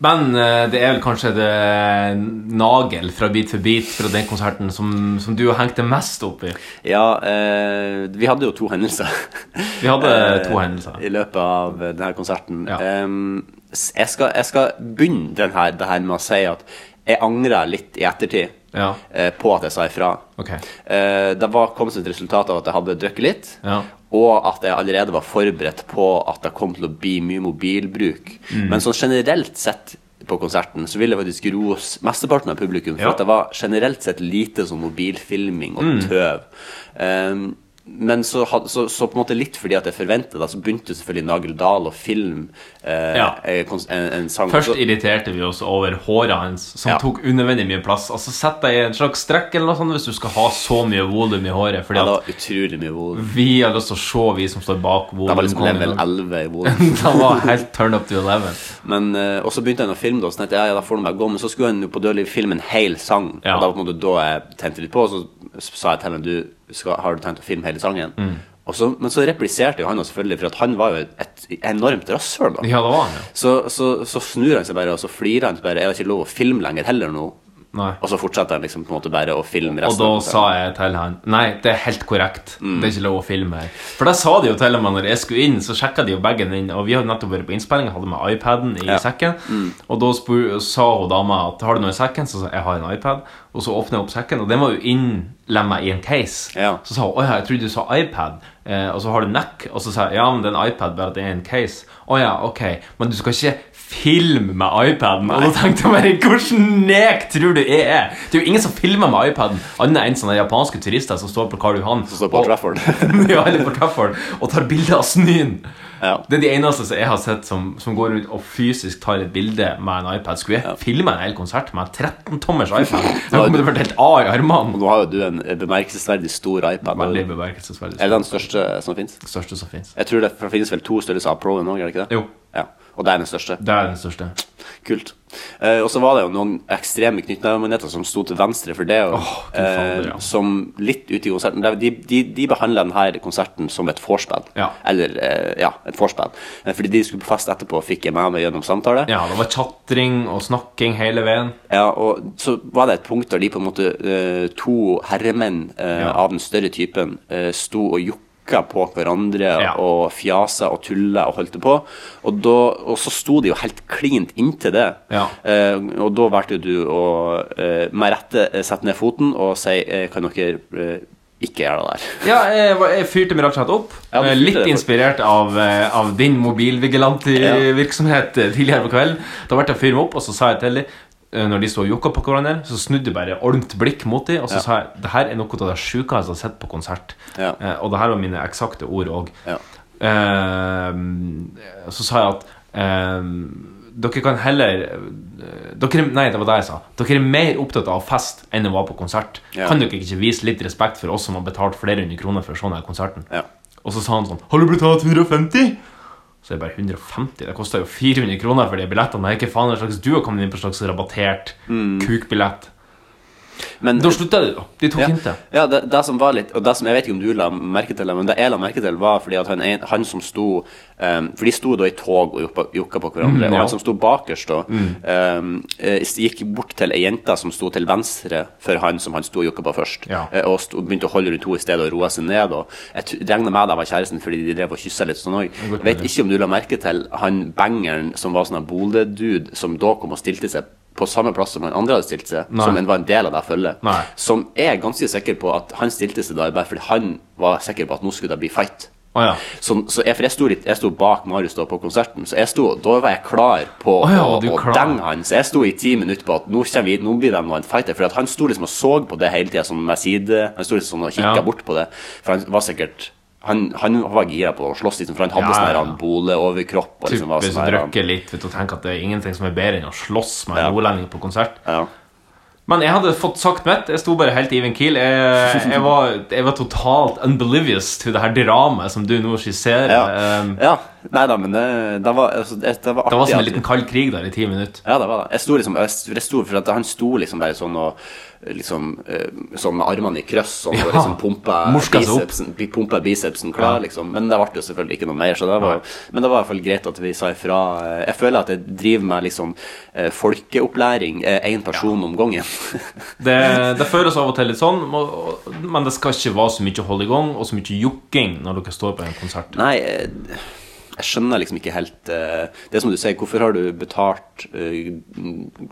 Men eh, det er vel kanskje det nagel fra Beat for beat fra den konserten som, som du hengte mest opp i.
Ja, eh, vi hadde jo to hendelser.
(laughs) Vi hadde
Eh,
to hendelser.
I løpet av denne konserten.
Ja.
Em, s- jeg, skal, jeg skal begynne den her, det her med å si at jeg angrer litt i ettertid
Ja.
eh, på at jeg sa ifra.
Ok.
Eh, det var, kom som et resultat av at jeg hadde drukket litt.
Ja.
Og at jeg allerede var forberedt på at det kom til å bli mye mobilbruk.
Mm.
Men sånn generelt sett på konserten så vil jeg faktisk rose mesteparten av publikum for
Ja. Mm.
at det var generelt sett lite sånn mobilfilming og tøv. Ehm, men så, had- så, så på en måte litt fordi at jeg forventet det, så begynte selvfølgelig Nagel Dahl å filme eh,
Ja.
en, kons- en, en sang.
Først
Så-
irriterte vi oss over håret hans, som
Ja.
tok unødvendig mye plass. Altså Sett deg i en slags strekk eller noe sånt hvis du skal ha så mye volum i håret. Fordi
ja, det
at
var utrolig mye volum.
vi har lyst til å se, vi som står bak
Det var liksom
(laughs)
level
volumkongen.
11 i volum.
Det var helt turn up to eleven.
Men, eh, og så begynte han å filme det, og så tenkte jeg ja, da får han bare gå. Men så skulle han jo på Dødelig filme en hel sang.
Ja.
Og da, på en måte, da jeg tente litt på, og så sa jeg til ham du skal, har du tenkt å filme hele sangen.
Mm.
Og så, men så repliserte jo han, og selvfølgelig, for at han var jo et enormt rasshøl. da.
Ja, det var han, ja.
Så, så, så snur han seg bare, og så flirer han så bare. Er det ikke lov å filme lenger heller nå?
Nei.
Og så fortsetter han liksom på en måte bare å filme
Og
resten.
da
av Mm. konserten.
sa jeg til han Nei, det er helt korrekt. Det er ikke lov å filme her. For da sa de jo til meg når jeg skulle inn, så sjekka de jo bagen inn. Og vi hadde nettopp vært på innspilling, jeg hadde med iPaden i
Ja. Mm.
sekken. Og da spur, sa hun dama at har du noe i sekken, så sa jeg jeg har en iPad. Og så åpna jeg opp sekken, og den var jo innlemma i en case.
Ja.
Så sa hun å ja, jeg trodde du sa iPad. Eh, og så har du Mac. Og så sa jeg ja, men det er en iPad, bare at det er en case. Å ja, ok. Men du skal ikke filme med iPaden. Og da tenkte jeg bare hvordan nek tror du jeg er? Det er jo ingen som filmer med iPaden, annet enn sånne japanske turister som står på Karl Johan.
Så står på
og- (laughs)
Trafford.
ja, eller på Trafford og tar bilde av snøen.
Ja.
Det er de eneste som jeg har sett som, som går rundt og fysisk tar et bilde med en iPad. Skulle jeg filme en hel konsert med en
(laughs)
13-tommers iPad? Jeg kommer til å vært helt A i armene.
(laughs) Nå har jo du en bemerkelsesverdig stor iPad.
Veldig
Er
bemerkelsesverdig.
det den største som fins?
Største som fins.
Jeg tror det finnes vel to størrelser av Pro-en òg, gjør det ikke det?
Jo.
Ja. Og det er den største.
Det er den største.
Kult. Eh, og så var det jo noen ekstreme knyttnevemanheter som sto til venstre for det, og,
Åh, Gud fader, ja.
eh, som litt ute i konserten De, de, de behandla denne konserten som et vorspiel.
Ja.
Eller eh, ja, et vorspiel. Eh, fordi de skulle på fest etterpå, fikk jeg med meg gjennom samtale.
Ja, det var chatring og snakking hele veien.
Ja, og så var det et punkt der de på en måte eh, to herremenn eh,
Ja.
av den større typen eh, sto og jokka på hverandre
Ja.
og fjasa og tulla og holdt det på. Og, da, og så sto de jo helt klint inntil det.
Ja.
Eh, og da valgte jo du å eh, med rette eh, sette ned foten og si eh, kan dere eh, ikke gjøre det der.
Ja, jeg, var- jeg fyrte meg rett og slett opp.
Ja, du
Eh,
fyrte
Litt
det, for-
inspirert av, eh, av din mobilvigilantvirksomhet ja. tidligere på kvelden. Da ble jeg fyrt meg opp, og så sa jeg til dem eh, når de sto og jokka på hverandre, så snudde jeg bare olmt blikk mot dem, og så sa jeg det her er noe av det sjukeste jeg har sett på konsert.
Ja.
Eh, og det her var mine eksakte ord òg.
Ja.
Ehm, så sa jeg at eh, dere kan heller eh, dere, Nei, det var det jeg sa. Dere er mer opptatt av fest enn å være på konsert.
Ja.
Kan dere ikke vise litt respekt for oss som har betalt flere hundre kroner for sånn her konserten?
Ja.
Og så sa han sånn Har du betalt 150? Så er det bare 150. Det kosta jo 400
Mm.
kroner for de billettene. Det er ikke faen en slags duo kom inn på en slags rabattert kukbillett.
Men
Da slutta de, da. De tok
ja,
hintet.
ja det, det som var litt Og det som jeg vet ikke om du la merke til det, men det jeg la merke til, var fordi at han, en, han som sto eh, For de sto da i tog og joppa- jokka på hverandre.
Mm,
Og han som sto bakerst, da, eh, eh, gikk bort til ei jente som sto til venstre for han som han sto og jokka på først.
Ja.
Eh, og sto, begynte å holde rundt henne i stedet og roe seg ned. Og jeg regna med det var kjæresten, fordi de drev og kyssa litt sånn òg.
godt
Vet
mulig.
ikke om du la merke til han bangeren som var sånn en Bodø-dude, som da kom og stilte seg på samme plass som han andre hadde stilt seg,
Nei.
som en var en del av det følget.
Nei.
Som jeg er ganske sikker på at han stilte seg der bare fordi han var sikker på at nå skulle det bli fight.
Å ja.
Så, så jeg, for jeg sto, litt, jeg sto bak Marius da på konserten, så jeg sto, da var jeg klar på
Å ja,
å,
du
å
klar.
denge han. Så jeg sto i ti minutter på at nå, kommer vi, nå blir det nå en fighter. For at han sto liksom og så på det hele tida, sånn med side Han sto liksom sånn og kikka
Ja.
bort på det. For han var sikkert Han, han var gira på å slåss, liksom, for han hadde
Ja,
sånn
ja,
her
ja.
han bole over kropp. Og liksom, var
Typisk å
sånn her, han-
drikke litt vet, du, og tenke at det er ingenting som er bedre enn å slåss med en
Ja.
nordlending på konsert.
ja.
Men jeg hadde fått sagt mitt. Jeg sto bare helt even keel. Jeg, jeg, var, jeg var totalt unbelivious til det her dramaet som du nå skisserer.
Ja.
Um,
ja. Nei da, men det, det var altså, det, det var artig.
Det var som en
at-
liten kald krig der i ti minutter.
Ja, det var det. Jeg sto liksom, jeg sto, jeg sto for at han sto liksom der sånn og liksom eh, sånn med armene i krøss sånn, og
Ja.
liksom pumpa
Morska seg opp.
bicepsen, bi- pumpa bicepsen klar,
Ja.
liksom. Men det ble jo selvfølgelig ikke noe mer, så det var, men det var i hvert fall greit at vi sa ifra. Eh, Jeg føler at jeg driver med liksom eh, folkeopplæring én person om gangen. (laughs)
Det, det føles av og til litt sånn, må- men det skal ikke være så mye hold i gang og så mye jokking når dere står på en konsert.
Nei, eh, jeg skjønner liksom ikke helt eh, Det er som du sier, hvorfor har du betalt eh,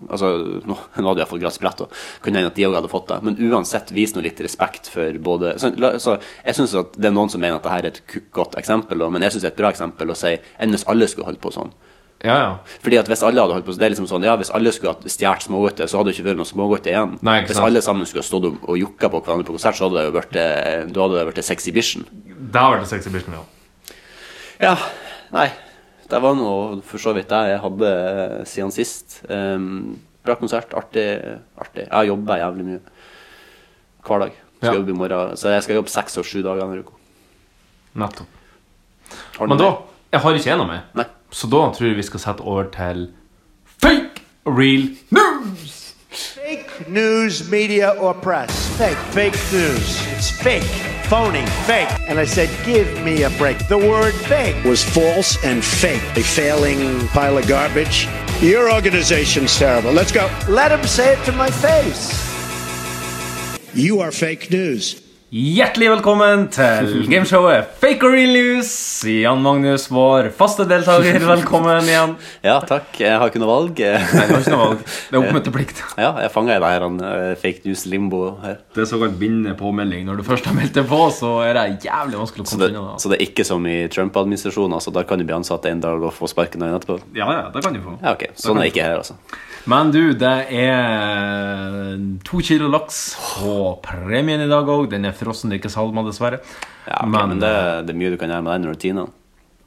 Altså, nå, nå hadde du iallfall gratis billett, og kunne hende at de òg hadde fått det. Men uansett, vis nå litt respekt for både Så, la, så jeg syns at det er noen som mener at dette er et ku- godt eksempel, og- men jeg syns det er et bra eksempel å si enn hvis alle skulle holdt på sånn.
Ja, ja.
Fordi at hvis alle hadde holdt på sånn, det er liksom sånn, ja, hvis alle skulle ha stjålet smågodter, så hadde det ikke vært noe smågodter igjen.
Nei, ikke
hvis
sant.
alle sammen skulle ha stått og- og jokka på hverandre på konsert, så hadde det jo vært, eh, da hadde det vært sexy bishen.
Det har vært en sexy bitch med, ja.
Ja, nei. Det var nå for så vidt det jeg hadde eh, siden sist. Ehm, bra konsert. Artig. artig. Jeg har jobba jævlig mye. Hver dag. Skal
Ja.
jobbe i morgen. Så jeg skal jobbe seks og sju dager denne uka.
Nettopp.
Har du
Men da
noe
Jeg har ikke en av meg.
Nei.
Så da tror jeg vi skal sette over til fake real news.
Fake news, media, or press. Fake. Fake news. It's fake. Phony. Fake. And I said, give me a break. The word fake was false and fake. A failing pile of garbage. Your organization's terrible. Let's go. Let him say it to my face. You are fake news.
Hjertelig velkommen til (laughs) gameshowet Fake or real news. Jan Magnus, vår faste deltaker, velkommen igjen.
Ja, takk. Jeg har ikke noe valg.
Nei, det var ikke noe valg. Det er oppmøteplikt.
(laughs) ja, jeg fanga i det her han, eh, fake news-limbo her.
Det er såkalt bindende påmelding. Når du først har meldt deg på, så er det jævlig vanskelig å
Så det,
komme seg unna.
så det er ikke som i Trump-administrasjonen, altså. Da kan du bli ansatt en dag og få sparken dagen etterpå.
Ja, ja, det kan du få.
Ja, ok. Sånn er det ikke her, altså.
Men du, det er to kilo laks på premien i dag òg. Den er frossen, det er ikke salma, dessverre.
Ja, ok, men det, det er mye du kan gjøre med den rutinen.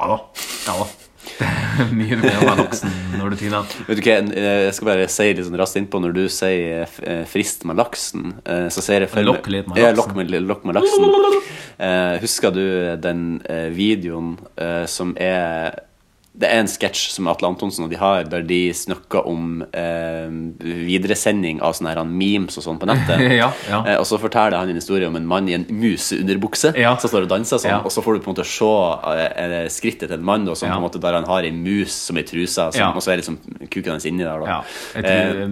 Ja da. Ja da. (laughs) Det er mye mer med laksen når du tiner den.
Vet du hva, eh, jeg skal bare si litt sånn raskt innpå Når du sier eh, f- eh, 'frist med laksen', eh, så sier jeg for
Lokk litt med
Ja,
laksen.
lokk med, lokk med laksen. Eh, Husker du den eh, videoen eh, som er det er en sketsj som Atle Antonsen og de har, der de snakker om eh, videresending av sånne her memes og sånn på nettet.
(laughs) Ja, ja.
Eh, og så forteller han en historie om en mann i en museunderbukse
Ja.
som står og danser sånn.
Ja.
Og så får du på en måte se eh, eh, skrittet til en mann da, som
Ja.
på en måte der han har en mus som ei truse. Som,
Ja.
Og så er liksom kuken hans inni der. Da.
Ja. Jeg tror, eh,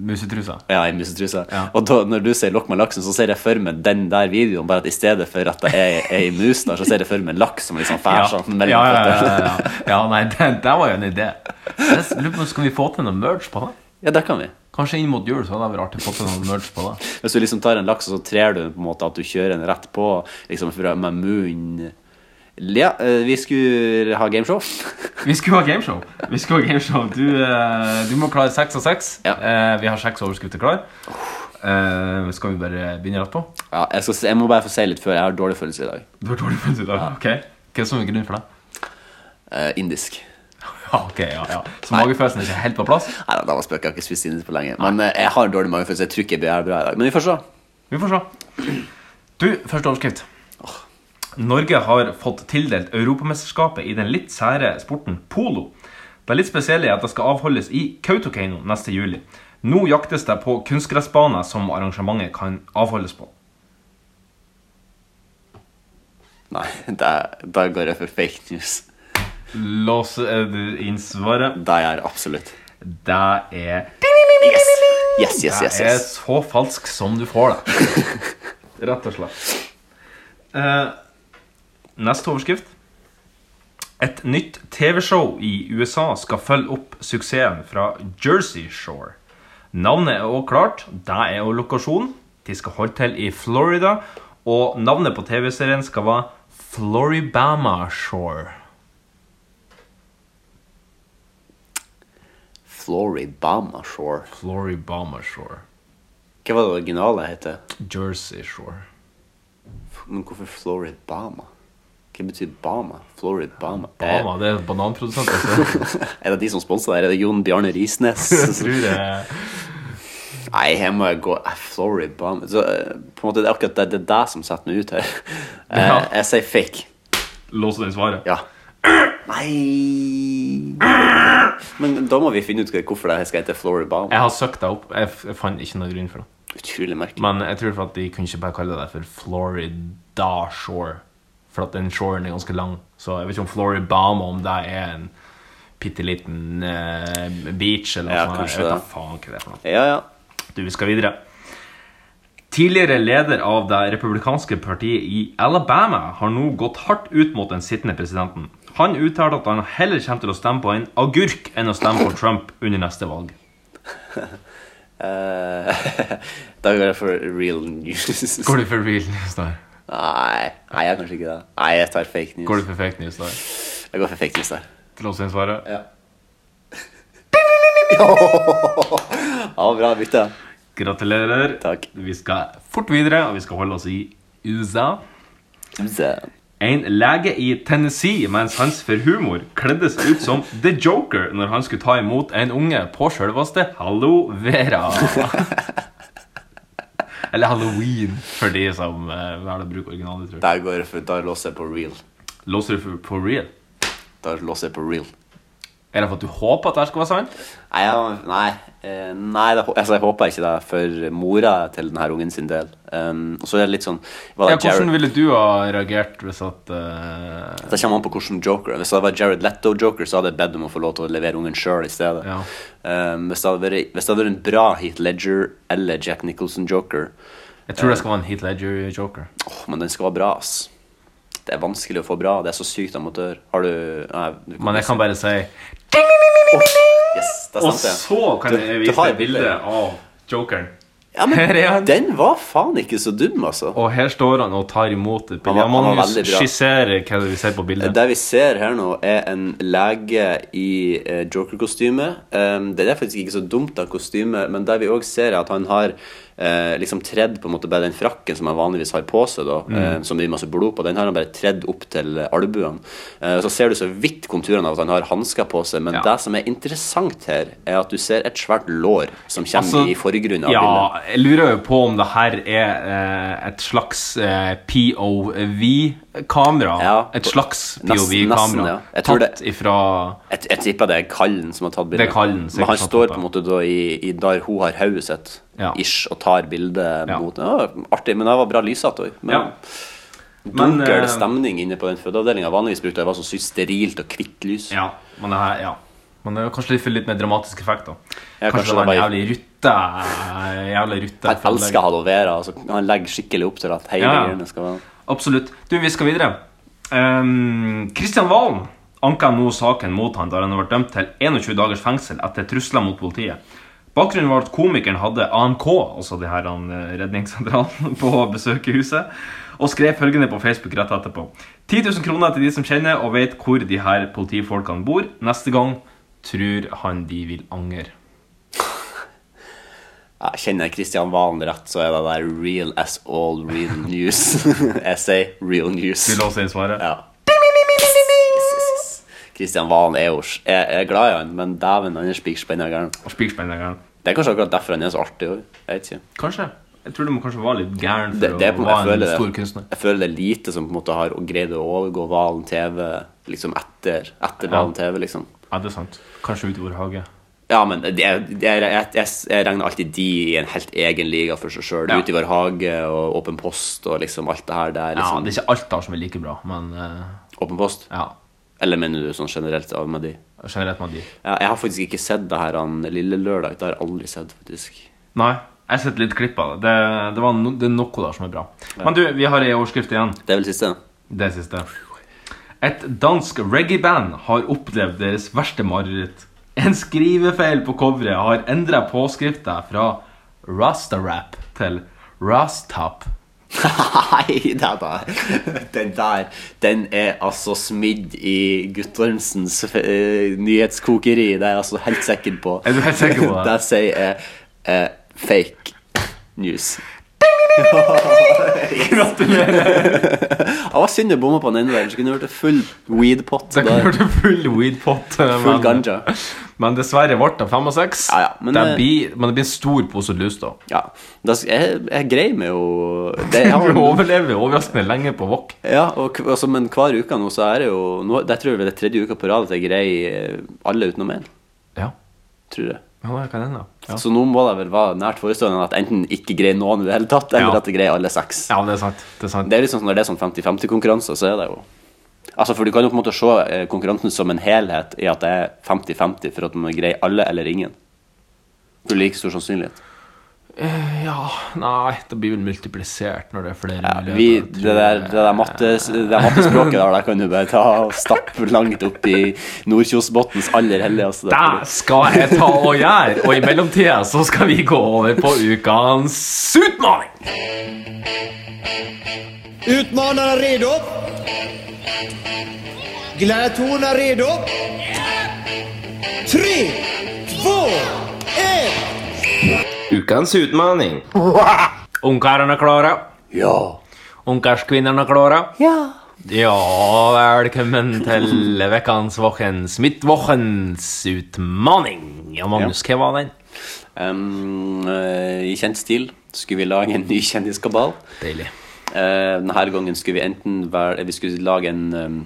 musetrusa.
Ja, i musetrusa.
Ja.
Og da, når du sier 'lokk med laksen', så ser jeg for meg den der videoen, bare at i stedet for at det er ei mus der, så ser jeg for meg en laks som liksom fær sånn
ja,
mellom
ja, ja, ja,
føttene.
ja. ja nei, (laughs) det, det var jo en idé. Jeg lurer på, Skal vi få til noe merge på det?
(laughs) Ja, det kan vi.
Kanskje inn mot jul så hadde det vært artig å få til noe merge på det.
Hvis du liksom tar en laks, og så trer du på en måte at du kjører den rett på, liksom fra, med munnen Ja, eh, vi skulle ha gameshow. (laughs)
Vi skulle ha gameshow. Vi skulle ha gameshow. Du, eh, du må klare seks av seks.
Ja.
Eh, Vi har seks overskudd til klar. Eh, Skal vi bare begynne rett på?
Ja, jeg, skal, si- jeg må bare få si litt før. Jeg har dårlig følelse i dag.
Du har dårlig følelse i dag. Ok. Hva er som er grunnen for det?
Eh, indisk.
Ja, ok, ja, ja. Så magefølelsen er ikke helt på plass?
Nei da, det var spøk. Jeg har ikke spist indisk på lenge. Men eh, jeg har dårlig magefølelse. Jeg tror ikke jeg blir bra i dag. Men vi får se.
Vi får se. Du, første overskrift. Norge har fått tildelt Europamesterskapet i den litt sære sporten polo. Det litt spesielle er at det skal avholdes i Kautokeino neste juli. Nå jaktes det på kunstgressbaner som arrangementet kan avholdes på.
Nei, da, da går jeg for fake news.
Lås eh, du inn svaret.
Da er jeg absolutt.
Det er
Yes, yes, yes, yes,
Det er
yes.
så falsk som du får
(laughs)
det. Rett og slett. Eh, neste overskrift. Et nytt TV-show i USA skal følge opp suksessen fra Jersey Shore. Navnet er også klart. Det er også lokasjon. De skal holde til i Florida. Og navnet på TV-serien skal være Floribama Shore.
Floribama Shore.
Floribama Shore.
Hva var det originale heter?
Jersey Shore.
Men hvorfor Floribama? Hva betyr Bama? Floribama?
Bama, det er bananprodusent,
(laughs)
altså.
Er, (laughs) er det de som sponser der? Er det Jon Bjarne
(laughs)
Risnes?
Jeg tror det er
Nei, her må jeg gå eh, Floribama Så, eh, På en måte, det er akkurat det, det er det som setter meg ut her. Eh,
Ja.
Jeg sier fake.
Låse den svaret.
Ja. Nei Men da må vi finne ut hvorfor det her skal hete Floribama.
Jeg har søkt deg opp. Jeg, f jeg fant ikke noe grunn for det.
Utrolig merkelig.
Men jeg tror for at de kunne ikke bare kalle det for Florida Shore. For at den shoren er ganske lang. Så jeg vet ikke om Floribama om det er en bitte liten eh, beach eller noe
Ja,
sånt.
kanskje
Jeg vet
det.
da faen hva det er for noe.
Ja, ja.
Du, vi skal videre. Tidligere leder av det republikanske partiet i Alabama har nå gått hardt ut mot den sittende presidenten. Han uttalte at han heller kommer til å stemme på en agurk enn å stemme på Trump under neste valg.
Eh, (laughs) da går jeg for real news.
Går du for real news der?
Nei, nei, jeg er kanskje ikke det. Nei, jeg tar fake news.
Går du for fake news der?
Jeg går for fake news der.
Til oss inn svaret?
Ja. ja, bra bytte.
Gratulerer.
Takk.
Vi skal fort videre, og vi skal holde oss i USA.
Så,
En lege i Tennessee med en sans for humor kleddes ut som The Joker når han skulle ta imot en unge på selveste Hallo
(laughs)
Vera. Eller Halloween, for de som eh, velger å bruke originalet, tror jeg.
Der går jeg for, da låser jeg på real.
Låser du for, på real?
Da låser jeg på real.
Er det for at du håper at det her skal være sant?
Nei, jeg, nei, eh, nei det, hå- altså, jeg håper ikke det for mora til denne ungen sin del. Um, og så er det litt sånn var
Ja,
det Jared-
hvordan ville du ha reagert hvis at eh,
Det kommer an på hvordan joker Hvis det hadde vært Jared Leto-joker, så hadde jeg bedt om å få lov til å levere ungen sjøl i stedet.
Ja.
Um, hvis, det hadde vært, hvis det hadde vært en bra Heath Ledger eller Jack Nicholson-joker
Jeg tror det skal være en Heat Ledger Joker.
Åh, Men den skal være bra, ass. Det er vanskelig å få bra. Det er så sykt amatør. Har du Nei. Du
Men jeg kan bare si
Yes, det
Og
stemte.
så kan
Du-
jeg
du har
vise
et bilde.
bildet av jokeren.
Ja,
(laughs) Her er
men
han.
den var faen ikke så dum, altså.
Og her står han og tar imot et
Han
bilde.
var- han var
Magnus
veldig bra.
skisserer hva vi ser på bildet.
Det vi ser her nå, er en lege i eh, Joker-kostyme. Um, det er faktisk ikke så dumt av kostyme, men det vi òg ser, er at han har eh, liksom tredd på en måte bare den frakken som han vanligvis har på seg, da,
Mm.
eh, som det er masse blod på, den har han bare tredd opp til eh, albuene. Eh, så ser du så vidt konturene av at han har hansker på seg, men
Ja.
det som er interessant her, er at du ser et svært lår som kommer
Altså,
i forgrunnen av
ja,
bildet.
jeg lurer jo på om det her er eh, et slags eh, POV-kamera.
Ja.
et slags
Nesten- nesten,
POV-kamera
ja. Jeg tror
tatt ifra
Jeg, jeg tipper det er Kallen som har tatt bildet.
Det er Kallen, sikkert
Men han
som har
står
tatt
på en måte da i, i der hun har hodet sitt,
Ja.
ish, og tar bildet
Ja.
mot ja, Artig, men det var bra lysete òg. Men
Ja. Men,
dunkel
eh,
stemning inne på den fødeavdelinga. Vanligvis brukte det var så sykt sterilt og hvitt lys.
Ja, men det her, ja. Men det er kanskje litt for litt mer dramatisk effekt, da.
Ja,
kanskje,
kanskje
det var en
det var-
jævlig rutte. eh, Jævlig rutte.
Han elsker Hallo Vera. Altså, han legger skikkelig opp til at hele
Ja, ja.
greiene skal være
Absolutt. Du, vi skal videre. Kristian Christian Valen anka nå saken mot han da han ble dømt til 21 dagers fengsel etter trusler mot politiet. Bakgrunnen var at komikeren hadde AMK, altså de her han, eh, redningssentralen, (laughs) på besøk i huset, og skrev følgende på Facebook rett etterpå. 10 000 kroner til de som kjenner og vet hvor de her politifolkene bor. Neste gang tror han de vil angre.
ja, Kjenner jeg Kristian Valen rett, så er det der real as all
(laughs)
real news. (laughs) jeg sier real news.
Du låser inn svaret?
Ja. Kristian Valen er jo Jeg jeg er glad i han, men dæven, han er spikspenna gæren.
Spikspenneren.
Det er kanskje akkurat derfor han er så artig òg. Jeg vet ikke.
Kanskje. Jeg tror du må kanskje være litt gæren for
Det, det er på,
å
jeg,
være en
føler
stor
det,
kunstner.
jeg føler det er lite som på en måte har greid å overgå Valen TV liksom etter, etter
Ja.
Valen TV, liksom.
Ja, det er sant. Kanskje utover hage.
Ja, men det, det, jeg, jeg, jeg regner alltid de i en helt egen liga for seg sjøl.
Ja.
Ute i vår hage og Åpen post og liksom alt det her. Det er
Ja,
liksom
det er ikke alt der som er like bra, men eh,
Åpen post?
ja.
Eller mener du sånn generelt av med de?
Generelt med de.
Ja, jeg har faktisk ikke sett det her han Lille Lørdag. Det har jeg aldri sett, faktisk.
Nei, jeg har sett litt klipp av det. Det, det, var no, det er noe der som er bra. Men du, vi har ei overskrift igjen.
Det er vel siste?
Det siste. Et dansk reggae-band har opplevd deres verste mareritt. En skrivefeil på coveret har endra påskrifta fra Rastarap til Rastap.
Nei, det er bare Den der, den er altså smidd i Guttormsens eh, nyhetskokeri. Det er jeg altså helt sikker på.
Er du helt sikker på det?
Det jeg sier er eh, fake news.
Gratulerer!
Det var synd jeg bomma på den ene der, så kunne det vært full weed-pott.
Det
der.
klarte full eh, weedpot.
Full ganja.
Men dessverre ble det fem og seks.
Ja, ja, men,
det
eh,
blir, men det blir en stor pose lus, da.
Ja. Da sk- Jeg, jeg greier meg jo det, jeg
(laughs) Du
har,
overlever overraskende lenge på wok.
ja, og, k- altså, Men hver uke nå, så er det jo nå, Det tror jeg det er tredje uka på rad at jeg greier eh, alle utenom én.
Ja.
Tror jeg.
ja, det kan hende. Ja.
Så nå må det vel være nært forestående at enten ikke greier noen i det hele tatt, eller
Ja.
at jeg greier alle seks.
ja, det er sant. Det er sant.
Det er liksom Når det er sånn 50-50-konkurranser, så er det jo Altså, For du kan jo på en måte se eh, konkurransen som en helhet i at det er 50-50 for at man greier alle eller ingen. For like stor sannsynlighet.
Ja, nei, det blir vel multiplisert når det er flere
Ja,
muligheter,
vi,
tror
det der,
jeg.
det der, mattes, det der mattespråket der, der kan du bare ta og stappe langt opp i Nordkjosbotns aller helligste.
Det skal jeg ta og gjøre, og i mellomtida så skal vi gå over på ukens utfordring.
Utmanarna redo? Gladiatorerna redo? Tre, två, ett!
Ukens utfordring. (laughs) Ungkarene er klare? Ja. Ungkarskvinnene er klare? Ja. Ja, velkommen til ukens våkens, mitt våkens utfordring. Ja, Magnus, hva var den?
Um, eh, I kjent stil skulle vi lage en ny kjendiskabal.
Deilig.
Eh, denne gangen skulle vi enten være, eh, vi skulle lage en um,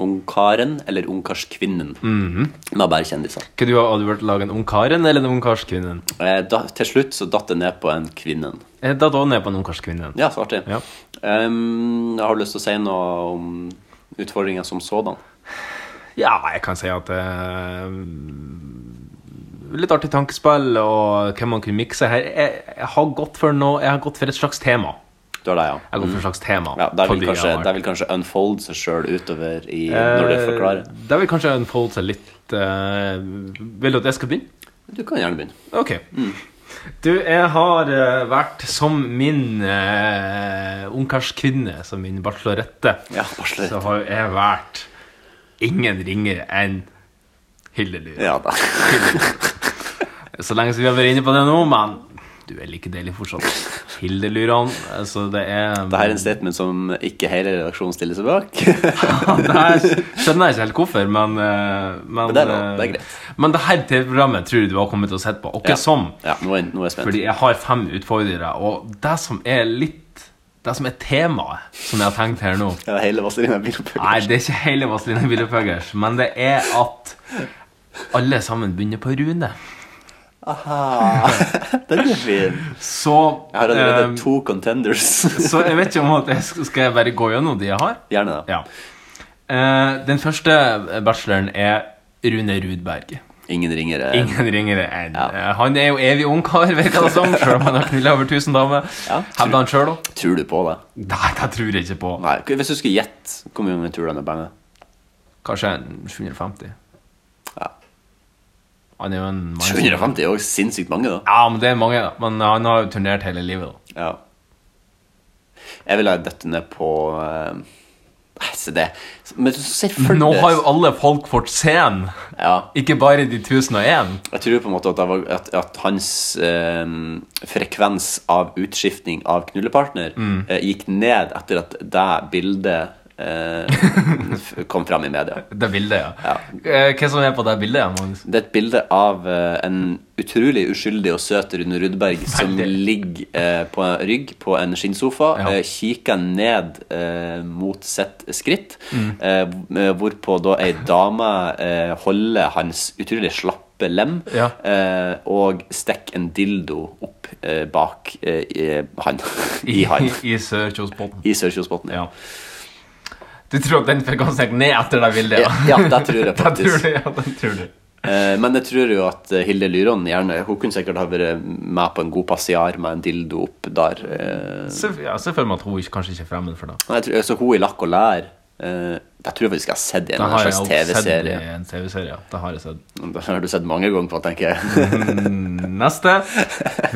ungkaren eller ungkarskvinnen.
Mhm.
Med bare kjendiser.
Hva du, hadde du vært lage en ungkaren eller en ungkarskvinnen?
Eh, da, til slutt så datt det ned på en kvinnen.
Eh, Da da ned på en ungkarskvinnen.
Ja, så artig.
Ja.
Um, jeg har lyst til å si noe om utfordringer som sådan.
Ja, jeg kan si at det Litt artig tankespill og hvem man kunne mikse her. Jeg, jeg, har gått for noe, jeg har gått for et slags tema.
Du har det, ja.
Jeg har gått for et slags tema
ja der, vil
fordi jeg
kanskje,
har-
der vil kanskje unfold seg sjøl utover i, når du forklarer.
Eh, Der vil kanskje unfolde seg litt eh, Vil du at jeg skal begynne?
Du kan gjerne begynne.
Ok.
Mm.
Du, jeg har eh, vært som min uh, ungkarskvinne, som min bachelorette,
Ja, bachelorette.
så har jeg vært ingen ringere enn Hildeluer.
Ja (laughs) da.
Så lenge siden vi har vært inne på det nå, men du er like deilig fortsatt. Hildelurene, altså det er
Det her er en statement som ikke hele redaksjonen stiller seg bak. (laughs)
Det her skjønner jeg ikke helt hvorfor, men eh, Men,
Men det er lov, det er
eh,
greit.
men det her TV-programmet tror jeg du har kommet til å sett på. Og ikke som.
Ja, nå er, nå er jeg spent.
Fordi jeg har fem utfordrere, og det som er litt Det som er temaet som jeg har tenkt her nå
Ja, hele Vazelina Bilopphøgg.
Nei, det er ikke hele Vazelina Bilopphøggers, men det er at alle sammen begynner på Rune.
Den er fin.
Så
(laughs) Jeg har allerede
eh,
to contenders.
(laughs) Så jeg vet ikke om at jeg skal skal jeg bare gå gjennom de jeg har.
Gjerne det.
Ja. Eh, den første bacheloren er Rune Rudberg.
Ingen eh, ringere.
Ingen ringere enn eh, Han er jo evig ungkar, virker det som, selv om han har knulla over 1000 damer.
Ja.
Hevder han sjøl òg?
Tror du på det?
Nei, det tror jeg ikke på.
Nei, Hvis du skulle gjette hvor mye man tror den er bange
Kanskje en 750.
Ja.
Han er jo en mann som-
750 er jo sinnssykt mange, da.
Ja, men det er mange, da. Men han har jo turnert hele livet, da.
Ja. Jeg ville ha dødd ned på eh, Nei, se det Men så selvfølgelig
Nå har jo alle folk fått scenen,
Ja.
ikke bare de 1001.
Jeg tror på en måte at, det var, at, at hans eh, frekvens av utskiftning av knullepartner eh, gikk ned etter at det bildet eh, f- kom fram i media.
Det bildet, ja. Eh, Hva som er på det bildet? ja, Magnus?
Det er et bilde av eh, en utrolig uskyldig og søt Rune Rudberg som
Veldig.
ligger eh, på en rygg på en skinnsofa,
Ja.
eh, kikker ned eh, mot sitt
Mm.
skritt, eh, hvorpå da ei dame eh, holder eh, hans utrolig slappe kroppelem
Ja.
eh, og stikke en dildo opp eh, bak eh, i,
(laughs)
han. I han.
I Sør-Kjosbotn.
I Sørkjosbotn.
Ja. Du tror at den fikk han seg ned etter det bildet?
Ja, ja, det
(laughs)
tror jeg
Det tror
faktisk.
du, ja, det tror du.
Eh, Men jeg tror jo at eh, Hilde Lyrån gjerne Hun kunne sikkert ha vært med på en god passiar med en dildo opp der. eh.
Se, ja, se for meg at hun ikke- kanskje ikke er fremmed for det.
Nei, jeg tror, så hun i lakk og lær eh, Det tror jeg faktisk jeg har sett i en
Det har jeg
slags
jo sett i
TV-serie.
en TV-serie. ja. Det har jeg sett.
Det har du sett mange ganger på,
(laughs)
tenker jeg.
Neste.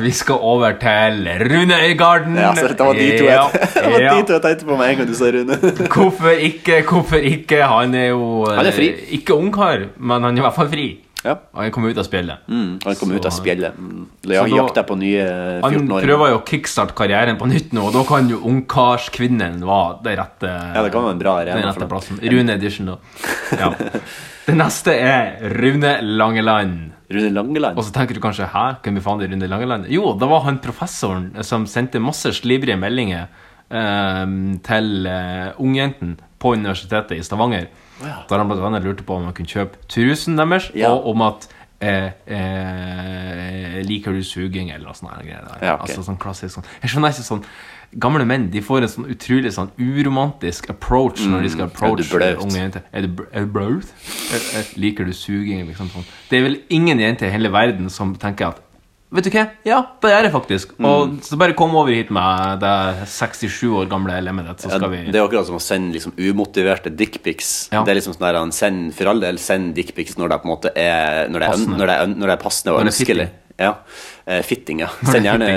Vi skal over til Rune Øygarden.
Ja, så det var de to jeg,
Ja,
(laughs) det var
ja.
de to jeg tenkte på med en gang du sa Rune. (laughs)
Hvorfor ikke? Hvorfor ikke? Han er jo
Han er fri.
eh, ikke ungkar, men han er i hvert fall fri.
Ja.
Og Han kom ut av spillet.
Mm, han kom
Så
ut av
han-
spjeldet. Mm. Ja,
Så da-
jakta på nye
Han
14-åringer.
prøver jo å kickstarte karrieren på nytt nå, og da kan jo ungkarskvinnen være den rette,
Ja, det kan være en bra arena
den rette
for dem.
plassen. Rune Edition, da.
(laughs)
Ja. Det neste er Rune Langeland.
Rune Langeland.
Og så tenker du kanskje hæ, hvem i faen er Rune Langeland? Jo, det var han professoren som sendte masse slibrige meldinger eh, til eh, ungjentene på universitetet i Stavanger. Der han blant annet lurte på om han kunne kjøpe trusen deres,
Ja.
og om at eh, eh, liker du suging, eller noe sånt. her greier der.
Ja, ok.
Altså sånn klassisk sånn. Jeg skjønner ikke sånn Gamle menn de får en sånn utrolig sånn uromantisk approach når de skal
er Mm. du
approach
blaut?
unge jenter. Er du, br- er du blaut? Er- er- Liker du suging? Liksom sånn. Det er vel ingen jenter i hele verden som tenker at Vet du hva? Ja, det er det faktisk.
Mm.
Og så bare kom over hit med det 67 år gamle lemmet ditt, så
Ja,
skal vi
Det er akkurat som å sende liksom, umotiverte dickpics.
Ja.
Det er liksom sånn der, han send, For all del, send dickpics når det på en måte er Når det er,
Passende.
øn- når det er, øn- når det er passende og
Når det er
ønskelig. Ja. Eh,
(laughs)
fitting, ja. Send gjerne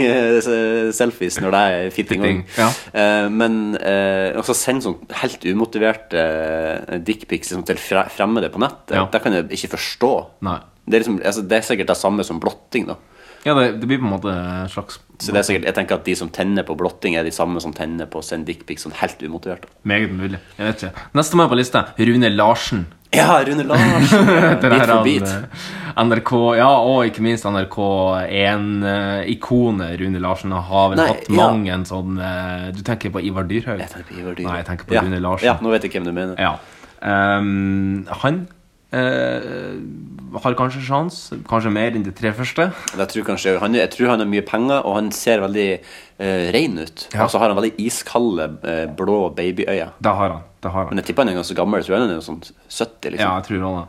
fitting-selfies når det er fitting.
Fitting,
også.
ja.
Eh, men eh, også send sånn helt umotiverte eh, dickpics liksom, til fre fremmede på nettet.
Ja.
Det kan jeg ikke forstå.
Nei.
Det er, liksom, altså, det er sikkert det samme som blotting. da
Ja, det, det blir på en måte en slags
så det er sikkert, jeg tenker at De som tenner på blotting, er de samme som tenner på å sende dickpics sånn helt umotivert. da.
Meget mulig. Jeg vet ikke. Neste mann på lista, Rune Larsen.
Ja,
(laughs)
Rune Larsen!
Det
bit
her
for
han,
bit.
eh, NRK, ja, og ikke minst NRK1-ikonet Rune Larsen har vel
Nei,
hatt
ja.
mange en sånn eh, Du tenker på Ivar Dyrhaug?
Jeg tenker på Ivar Dyre.
Nei, jeg tenker på
ja.
Rune Larsen.
Ja, nå vet jeg hvem du mener.
Ja. Ehm, han eh, har kanskje sjans, kanskje mer enn de tre første.
Jeg, tror kanskje, han, jeg tror han har mye penger, og han ser veldig eh, ren ut.
Ja.
Og så har han veldig iskalde, eh, blå babyøyne.
Det har han. Det har han.
Men jeg tipper han er ganske gammel. Jeg tror han er noe sånn 70,
Ja,
liksom.
jeg tror han det.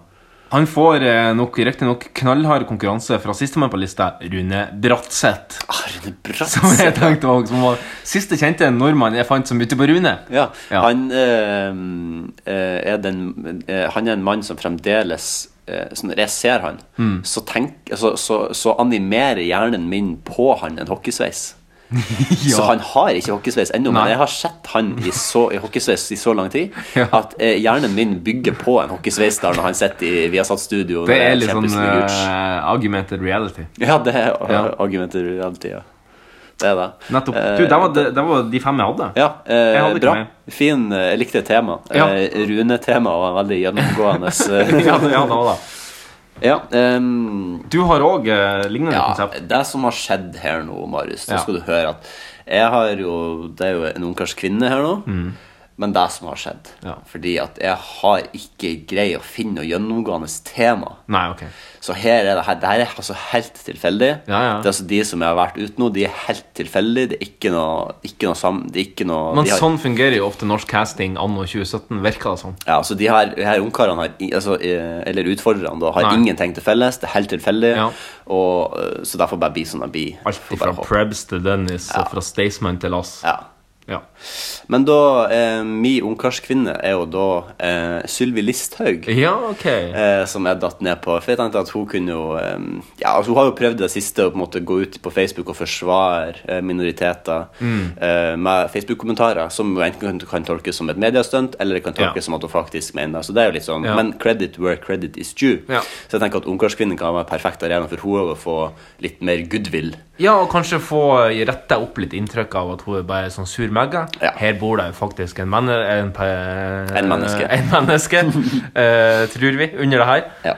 Han får eh, nok riktignok knallhard konkurranse fra sistemann på lista, Rune Bratseth. (laughs)
Ah, Rune
Som jeg
Bratseth!
tenkte var, som var siste kjente nordmann jeg fant som begynte på Rune.
Ja,
Ja.
han eh, eh, er den eh, Han er en mann som fremdeles eh, så Når jeg ser han,
Mm.
så, tenk, så, så, så animerer hjernen min på han en hockeysveis.
(laughs)
Så han har ikke hockeysveis ennå, men
Nei.
jeg har sett han i, så, i hockeysveis i så lang tid
(laughs) Ja.
at eh, hjernen min bygger på en hockeysveis der når han sitter i Viasat-studio.
det er litt sånn
uh...
eh, augmented reality.
(laughs) Ja, det er ja.
Ja.
argumenter alltid, ja. Det er det.
Nettopp.
Eh,
Du, det var, det, det var de fem jeg hadde.
ja, eh,
Jeg hadde ikke
bra.
med.
Fin. eh, Jeg likte temaet.
Ja.
Eh, Rune-temaet var veldig
(laughs) (laughs)
gjennomgående.
ja,
så-
det- ja, det var det.
(laughs) ja, ehm,
Du har òg eh, lignende
ja,
(laughs) konsept.
det som har skjedd her nå, Marius,
Ja.
nå skal du høre at jeg har jo, det er jo en ungkars kvinne her nå, men det som har skjedd,
Mm. Ja.
fordi at jeg har ikke greid å finne noe gjennomgående tema.
Nei, ok.
Så her er det her, det her er altså helt tilfeldig.
Ja, ja.
Det er altså De som jeg har vært ute nå, de er helt tilfeldige. Det er ikke noe, ikke noe sammen. Det er ikke noe,
Men
de har-
sånn fungerer jo ofte norsk casting anno 2017. Virker det sånn?
Ja, så de her, de her ungkarene, har, i- altså, eh, eller utfordrerne, da, har
Nei.
ingenting til felles. Det er helt tilfeldig.
Ja.
Og, eh, så derfor bare bli som de blir. Får
Alt
bare
fra
håpe.
Prebz til Dennis og fra Staysman til Lass.
Ja.
Ja.
Men da eh, Min ungkarskvinne er jo da eh, Sylvi Listhaug.
ja, ok.
eh, som jeg datt ned på. For jeg tenkte at hun kunne jo eh, Ja, altså hun har jo prøvd det siste å på en måte gå ut på Facebook og forsvare eh, minoriteter
Mm.
eh, med Facebook-kommentarer, som jo enten kan, kan tolkes som et mediestunt, eller det kan
Ja.
tolkes som at hun faktisk mener det. Så det er jo litt sånn
Ja.
Men credit where credit is due.
Ja.
Så jeg tenker at Ungkarskvinnen kan være en perfekt arena for hun å få litt mer goodwill.
Ja, og kanskje få retta opp litt inntrykk av at hun er bare sånn sur megge.
Ja.
Her bor det jo faktisk en, menne, en, pe,
En menneske.
(laughs) En menneske eh, tror vi, under det her.
Ja.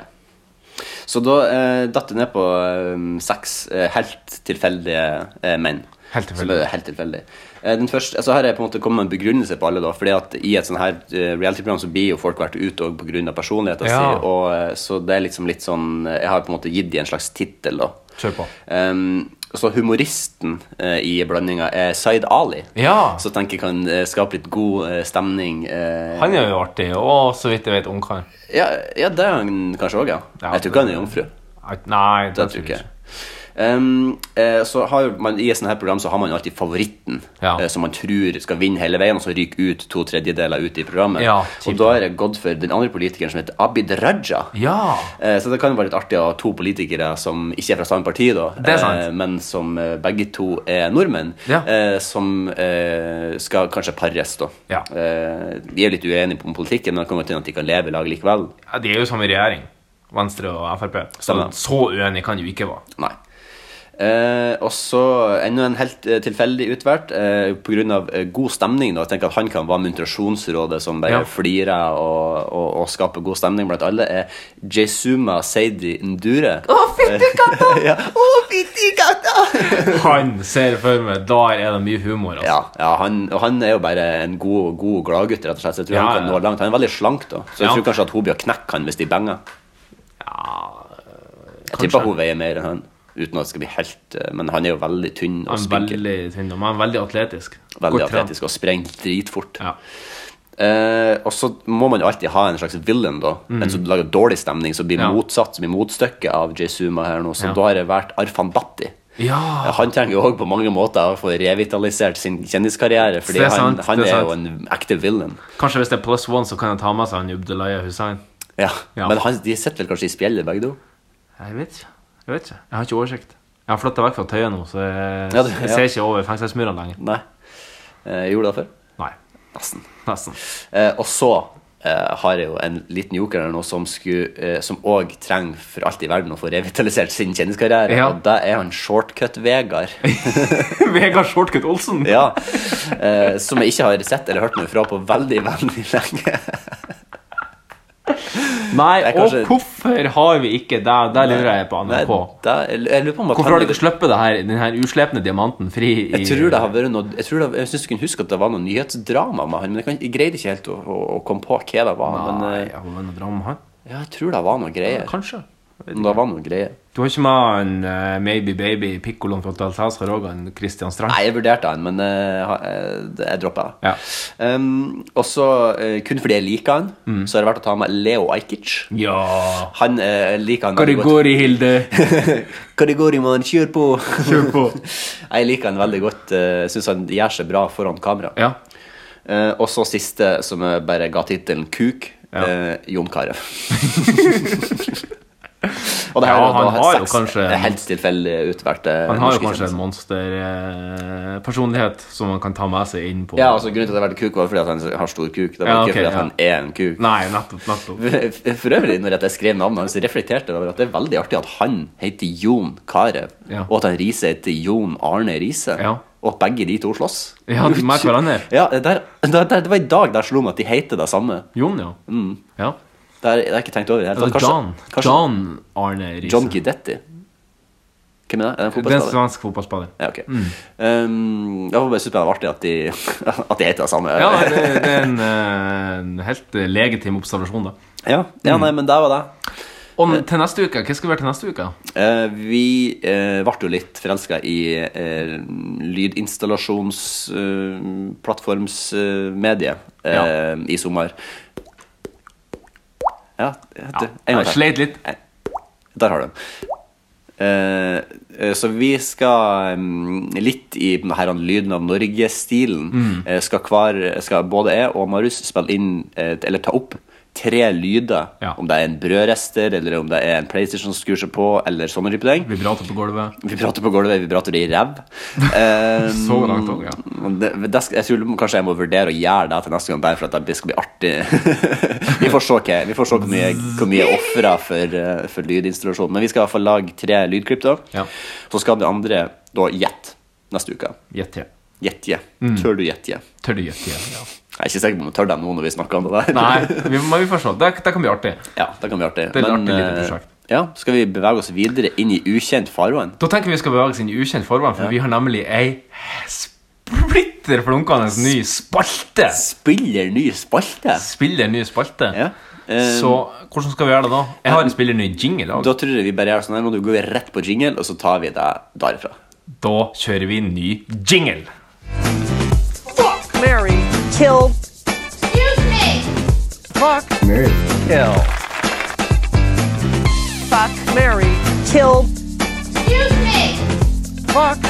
Så da eh, datt jeg ned på eh, seks eh, helt tilfeldige eh, menn.
Helt tilfeldig.
Som er helt tilfeldig. Eh, Den første, altså her er på en måte kommet med en begrunnelse på alle. da Fordi at I et sånn her eh, reality-program så blir jo folk vært ute og på grunn av personligheten
Ja.
sin. Og, eh, så det er liksom litt sånn eh, Jeg har på en måte gitt dem en slags tittel. da.
Kjør på.
Ehm, så humoristen eh, i blandinga er Zaid Ali.
Ja.
Så tenker jeg kan eh, skape litt god eh, stemning. eh,
Han er jo artig, og så vidt jeg vet, ungkar.
ja, ja, det er han kanskje òg, ja.
Ja,
Jeg tror ikke han er jomfru.
Nei,
Det tror ikke jeg. Ehm, eh, så har jo man, I et sånt her program så har man jo alltid favoritten
Ja.
eh, som man tror skal vinne hele veien, og så ryker ut to tredjedeler ut i programmet.
Ja,
og
kjipt.
da er det gått for den andre politikeren som heter Abid Raja.
Ja.
Eh, Så det kan jo være litt artig å ha to politikere som ikke er fra samme parti, da,
Det er sant.
eh, men som eh, begge to er nordmenn,
Ja.
eh, som eh, skal kanskje pares. da.
Ja.
Eh, De er jo litt uenige om politikken, men det kan godt hende at de kan leve i lag likevel.
Ja, De er jo samme regjering, Venstre og Frp. Så,
Stemmer.
så uenige kan de jo ikke være.
Nei. Eh, og så enda en helt eh, tilfeldig utvalgt eh, pga. Eh, god stemning. Da. Jeg tenker at Han kan være muntrasjonsrådet som bare
Ja.
flirer og, og, og skaper god stemning blant alle. Er Jesuma Seidi Ndure. (laughs)
Han ser for meg Der er det mye humor, altså.
Ja, ja han, og han er jo bare en god, god gladgutt, rett og slett. Så jeg tror
Ja,
han kan
ja.
nå langt. Han er veldig slank, da. Så jeg
Ja.
tror kanskje at hun blir å knekke han hvis de banger. jeg tipper hun veier mer enn han. Uten at det skal bli helt eh, Men han er jo veldig tynn og
Han er
spinkel.
veldig tynn, men han er veldig atletisk.
Veldig
Godt trent.
atletisk og sprenger dritfort.
Ja.
Eh, og så må man jo alltid ha en slags villain, da. En som lager dårlig stemning, som blir
Mm. Ja.
motsatt, som blir motstykket av Jesuma her nå. Så
Ja. Ah.
da har det vært Arfan Bhatti.
Ja.
Eh, Han trenger jo òg på mange måter å få revitalisert sin kjendiskarriere, fordi
Det er
han,
sant,
han
det
er,
er
jo
sant.
en ekte villain.
Kanskje hvis det er plus one, så kan jeg ta med seg han Ubdelaya Hussein.
Ja.
Ja.
Men han, de sitter vel kanskje i spjeldet, begge to?
Jeg vet ikke. Jeg vet ikke. Jeg har ikke oversikt. Jeg har flytta vekk fra Tøyen nå, så jeg,
Ja, du-
jeg
ja.
ser ikke over fengselsmurene lenger.
Nei. Eh, gjorde det før?
Nei.
Nesten.
Nesten. (laughs)
Eh, og så eh, har jeg jo en liten joker her nå som skulle, eh, som òg trenger for alt i verden å få revitalisert sin kjendiskarriere,
Ja.
og det er
(laughs)
han Shortcut-Vegard.
Vegard Shortcut Olsen!
ja. Eh, som jeg ikke har sett eller hørt noe fra på veldig, veldig lenge.
Nei,
Jeg
og
kanskje-
hvorfor har vi ikke det? Det lurer jeg på
Nei,
NRK.
da, jeg lurer på om at
Hvorfor
han-
har de ikke sluppet det her, den her uslepne diamanten fri i
Jeg tror det har vært noe Jeg, tror det, jeg synes du kunne huske at det var noe nyhetsdrama med han, men jeg, kan, jeg greide ikke helt å, å, å komme på hva det var.
Nei,
Men eh,
ja, men noe drama her.
ja, jeg tror det var noe greier.
Kanskje.
Det var noe greier.
Du har ikke med han eh, Maybe Baby Piccoloen fra Dalsazar og han Christian Strand?
Nei, jeg vurderte han, men eh, ha- eh, det- jeg droppa det.
Ja.
Um, og så, eh, kun fordi jeg liker han,
Mm.
så har det vært å ta med Leo Ajkic.
Ja
Han eh, liker han veldig godt.
Karigori, Hilde.
(laughs) Kategori, mann, kjør på!
Kjør på.
(laughs) jeg liker han veldig godt. eh, Jeg syns han gjør seg bra foran kamera.
Ja.
Eh, og så siste, som jeg bare ga tittelen Kuk,
Ja.
eh,
(laughs)
Jon Carew. (laughs) Og det
Ja,
her er da
han har jo
seks
kanskje-
helt tilfeldig utvalgte
Han har jo
norske
kanskje en
kjendiser.
monsterpersonlighet som han kan ta med seg inn på
Ja, altså Grunnen til at jeg valgte kuk, var fordi at han har stor kuk. Det var
Ja,
ikke
ok,
fordi at
ja.
han er en kuk. (laughs)
Nei, nettopp. nettopp.
For øvrig, når jeg skrev navnet hans, reflekterte jeg over at det er veldig artig at han heter Jon Carew,
Ja.
og at han Riise heter Jon Arne Riise.
Ja.
Og at begge de to slåss.
Ja, de merker hverandre.
(laughs) Ja, der, der, der, det var i dag der slo meg at de heter det samme.
Jon, ja. ja.
Det har jeg- det har jeg ikke tenkt over. i Mm. det hele
Eller
tatt.
John.
kanskje
John Arne Riise.
John Guidetti.
Det
Hvem er det? Er det en
er en
fotballspiller?
svensk fotballspiller.
Ja, ok. Um, jeg var bare super artig at de, (laughs) at de heter det samme.
Ja, nei, det, det er en, eh, en helt eh, legitim observasjon, da.
(laughs) ja. ja, nei, men der var det.
Og til neste uke, hva skal vi gjøre til neste uke?
Eh, vi eh, ble jo litt forelska i eh, lydinstallasjonsplattformsmediet eh, eh, i sommer. Ja, du, en gang
Jeg
til.
sleit litt.
Der har du den. Eh, eh, så vi skal mm, litt i den her Lyden av Norge-stilen.
Mm.
Eh, skal, hver- skal både jeg og Marius spille inn, eh, eller ta opp, tre lyder.
Ja.
Om det er en brødrester, eller om det er en PlayStation som skrur seg på, eller sånne type ting.
Vibrator på gulvet.
Vi prater på gulvet, vi prater i ræv. Eh,
(laughs) Så langt òg, ja.
det, det, skal- jeg tror kanskje jeg må vurdere å gjøre det til neste gang, bare for at det skal bli artig. (laughs) vi får se, hva- vi får se hvor mye, hvor mye jeg ofrer for, eh, for lydinstallasjon. Men vi skal i hvert fall lage tre lydklipp, da.
Ja.
Så skal de andre da gjette neste uke.
Gjett til.
Gjette.
Mm.
Tør du gjette?
Tør du gjette igjen? Ja.
Jeg er ikke sikker på om jeg tør det nå når vi snakker om det der.
Nei, vi, men vi får se. Det, det kan bli artig.
(laughs) Ja, det kan bli artig.
Det er et artig lite
eh,
prosjekt.
Ja, skal vi bevege oss videre inn i ukjent farvann?
Da tenker vi skal bevege oss inn i ukjent farvann, for vi har nemlig ei splitter flunkende ny spalte.
Spiller ny spalte?
Spiller ny spalte.
Ja. Eh,
Så hvordan skal vi gjøre det da? Jeg har en spiller ny jingle òg.
Da tror jeg vi bare gjør sånn her, nå går vi rett på jingle, og så tar vi deg derifra.
Da kjører vi ny jingle.
Excuse me! Fuck. Mary. Kill. Fuck. Mary. Kill. Excuse me!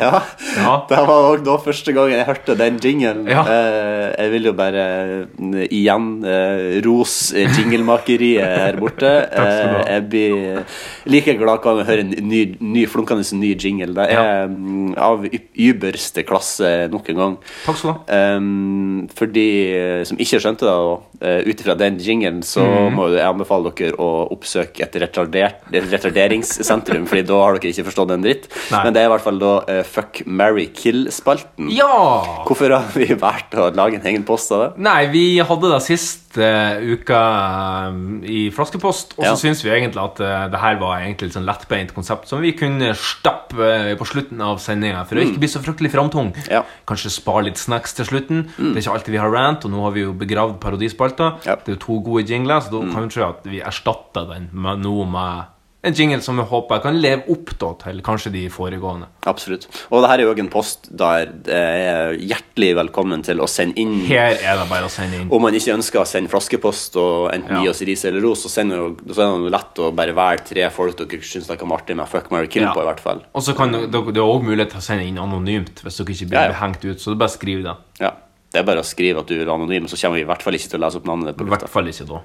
Ja,
Ja.
Det var også da første gang jeg hørte den jingelen.
Ja.
Eh, jeg vil jo bare eh, igjen eh, rose jinglemakeriet her
(laughs)
borte.
skal du ha.
Eh, jeg blir like glad hver gang jeg hører en ny, ny flunkende ny jingle. Det er
Ja.
mm, av yp- yberste klasse nok en gang.
Takk skal du ha.
Ehm, for de eh, som ikke skjønte det, uh, ut ifra den jingelen, så
Mm.
må jeg anbefale dere å oppsøke et retardert, et retarderingssentrum, Fordi da har dere ikke forstått en dritt.
Nei.
Men det er i hvert fall da eh, Fuck, marry, kill-spalten.
Ja!
Hvorfor har vi valgt å lage en egen post av det?
Nei, vi hadde det sist eh, uka eh, i Flaskepost, og så
Ja.
syns vi egentlig at eh, det her var egentlig et sånn lettbeint konsept som vi kunne stappe eh, på slutten av sendinga for å ikke bli så fryktelig framtung.
Mm. Ja. Mm.
Kanskje spare litt snacks til slutten. Det er ikke alltid vi har rant, og nå har vi jo begravd parodispalta.
Ja. Mm.
Det er jo to gode jingler, så da kanskje at vi erstatter den med noe med en jingle som vi håper kan leve opp da til kanskje de foregående.
Absolutt. Og det her er jo en post der det er hjertelig velkommen til å sende inn
Her er det bare å sende inn.
Om man ikke ønsker å sende flaskepost og enten
Ja.
gi oss ris eller ros, så, sender jo- så er det jo lett å bare velge tre folk dere syns dere har artig med fuck, marry, kill
Ja.
på, i hvert fall.
Og så kan dere- dere- Det er òg mulighet til å sende inn anonymt hvis dere ikke blir
Ja, ja.
hengt ut. Så det er bare skriv det.
Ja. Det er bare å skrive at du er anonym, så kommer vi i hvert fall ikke til å lese opp navnet ditt.
I
på
hvert
lufta.
fall ikke da.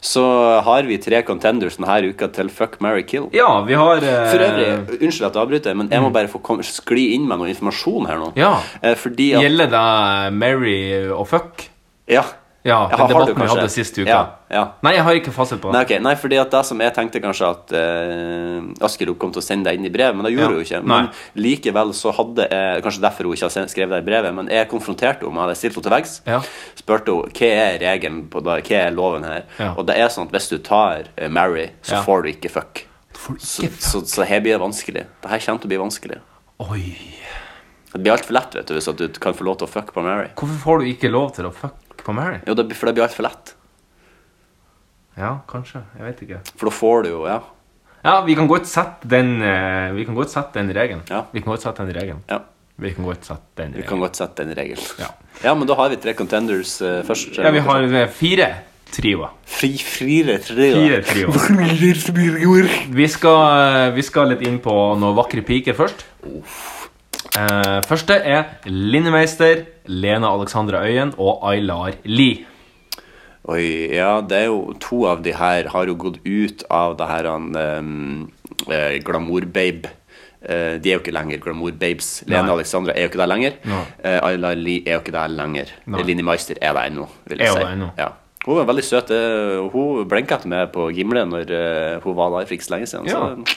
Så har vi tre contenders denne uka til Fuck, marry, kill.
Ja, vi har eh, Mm.
For øvrig, unnskyld at jeg avbryter, men jeg må bare få kom, skli inn med noe informasjon her nå.
Ja.
Eh, Fordi at
Gjelder det Mary og fuck?
Ja.
Ja,
Ja,
den
har du
debatten vi
kanskje?
hadde sist uke.
Ja, ja.
Nei, jeg har ikke fasit på
Nei,
det.
ok, nei, fordi at det som jeg tenkte kanskje at uh, Askerup kom til å sende deg inn i brev, men det gjorde
Ja.
hun ikke.
Nei.
Men likevel så hadde jeg Kanskje derfor hun ikke har sen- skrevet deg brevet, men jeg konfronterte henne med det, stilte henne til veggs.
Ja.
Spurte hun hva er regelen på det, hva er loven her.
Ja.
Og det er sånn at hvis du tar eh, Mary, så
Ja.
får du ikke fuck.
Folk-
Så, så, så her blir det vanskelig. Det her kommer til å bli vanskelig.
Oi.
Det blir altfor lett vet du, hvis at du kan få lov til å fuck på Mary.
Hvorfor får du ikke lov til å fuck på Mary?
Jo, det, blir- for det blir altfor lett.
Ja, kanskje. Jeg vet ikke.
For da får du jo Ja.
Ja, vi kan godt sette den eh, Vi kan godt sette den regelen.
Ja.
Vi kan godt sette den regelen.
ja.
Vi kan godt sette den
Vi kan
regelen.
godt sette den regelen.
Ja.
men da har vi tre contenders eh, først.
Ja, vi har eh, fire trioer.
Fri, frire, tre, da.
Fire trioer. Vi skal, eh, vi skal litt inn på noen vakre piker først. Eh, første er Linnemeister, Lena Alexandra Øyen og Aylar Lie.
Oi, ja, det er jo To av de her har jo gått ut av det her han um, eh, Glamourbabe. Eh, de er jo ikke lenger Glamour-babes. Lene
Nei.
Alexandra er jo ikke der lenger.
Nei.
Eh, Ayla Lie er jo ikke der lenger.
Nei.
Linni Meister er der ennå, vil
Er
jeg
hun
si.
der ennå?
Ja. Hun var veldig søt. eh, Hun blinka til meg på Gimle når eh, hun var der for ikke så lenge siden.
Ja.
Så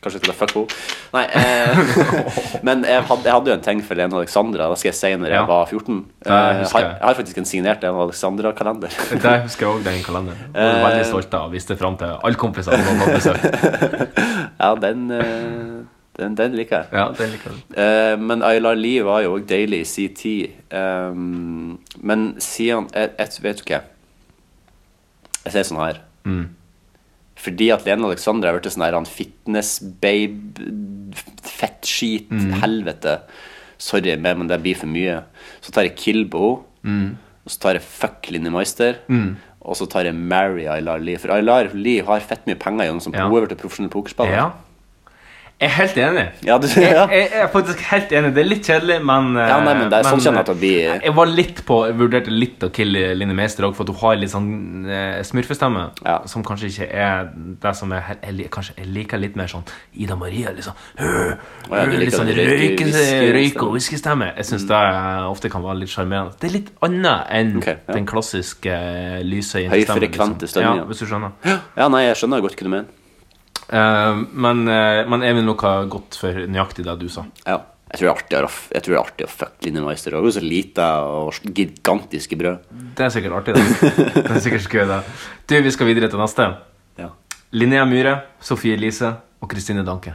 Kanskje til å fuck henne. Nei, eh, (laughs) men jeg hadde, jeg hadde jo en ting for Lene Alexandra. Det skal jeg si når
Ja.
jeg var 14. Eh,
Det husker
har,
jeg.
jeg har faktisk en signert Lene Alexandra-kalender.
(laughs) Der husker jeg òg den kalenderen. Jeg var veldig stolt av å vise det fram til alle kompisene. som hadde besøk.
ja, den, eh, den, den liker jeg.
Ja, den liker jeg.
Eh, men Aylar Lie var jo også deilig i sin tid. Ehm, men siden jeg, jeg vet ikke Jeg sier sånn her
Mm.
Fordi at Lene Alexandra har blitt sånn her han fitness-babe, fettskit,
Mm.
helvete. Sorry, men men det blir for mye. Så tar jeg kill på
Mm.
henne. Og så tar jeg fuck Linni Meister. Og så tar jeg marry Aylar Lie. For Aylar Lie har fett mye penger gjennom som
Ja.
hun har blitt profesjonell pokerspiller.
Ja. Jeg er helt enig.
Ja, du- (laughs)
jeg,
ja.
jeg er faktisk helt enig. Det er litt kjedelig, men eh,
Ja, nei, men det er sånn kjenner jeg at det blir-
Jeg var litt på, jeg vurderte litt å kille Line Meister òg, for at hun har litt sånn eh, smurfestemme.
Ja.
Som kanskje ikke er det som er helt- jeg, li- Kanskje jeg liker litt mer sånn Ida Maria, liksom. Øh,
ja,
øh,
du
litt
liker
sånn
den røyke-
røyke-
whisky-
røyk- og whiskystemme. Jeg syns det eh, ofte kan være litt sjarmerende. Det er litt annet enn
Ok, ja.
den klassiske eh, lyse
Høyfrekvente stemmen,
Ja,
ja.
hvis du skjønner.
Ja, nei, jeg skjønner godt hva du mener.
Eh, men, eh, men jeg vil nok ha gått for nøyaktig det du sa.
Ja. Jeg tror det er artig, å- jeg tror det er artig å fuck Linnemeister òg. Så lite og gigantiske brød.
Det er sikkert artig, det. det er sikkert skøy, det. Du, vi skal videre til neste.
Ja.
Linnea Myhre, Sofie Elise og Kristine Danke.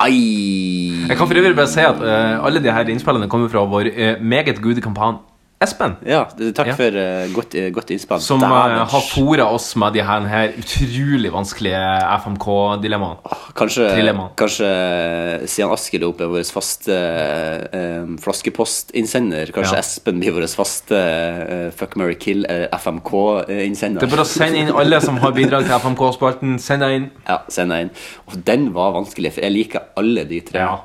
Ai!
Jeg kan for øvrig bare si at eh, alle de her innspillene kommer fra vår eh, meget gode kampan Espen.
Ja, det- takk
Ja.
for eh, godt, eh, godt innspill.
Som eh,
Dæven.
har fôra oss med de her, her utrolig vanskelige FMK-dilemmaene.
Kanskje,
Trilemma.
kanskje Stian Askelopp er vår faste eh, flaskepostinnsender. Kanskje
Ja.
Espen blir vår faste eh, fuck, marry, kill eh, FMK-innsender.
Det er bare å sende inn alle som har bidrag til FMK-spalten. Send deg inn.
Ja, send deg inn. Og den var vanskelig, for jeg liker alle de tre.
Ja.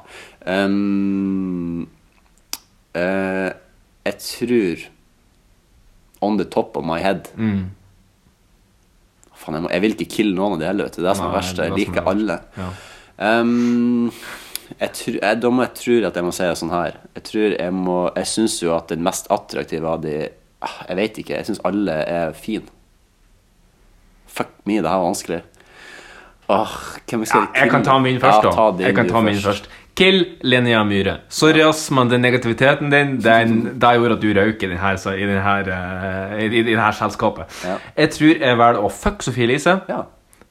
Um, eh, jeg tror On the top of my head
Mm.
Faen, jeg, må, jeg vil ikke kille noen av de heller, vet du. Det er det som er
Nei,
verst.
det er
Jeg
det som
liker
er-
alle.
Ja.
Um, jeg tror, jeg, da må jeg tro at jeg må si det sånn her. Jeg tror jeg må Jeg syns jo at den mest attraktive av de ah, Jeg vet ikke. Jeg syns alle er fine. Fuck me, det her var vanskelig. Åh, hvem skal
Jeg kan ta min først,
Ja,
da.
ta din
jeg kan
du
ta min først. Kill Linnea Myhre. Sorry, ass, men den negativiteten din den, Det gjorde at du røyk i denne, i den her, eh, i, i den her selskapet.
Ja.
Jeg tror jeg velger å fuck Sofie Elise.
Ja,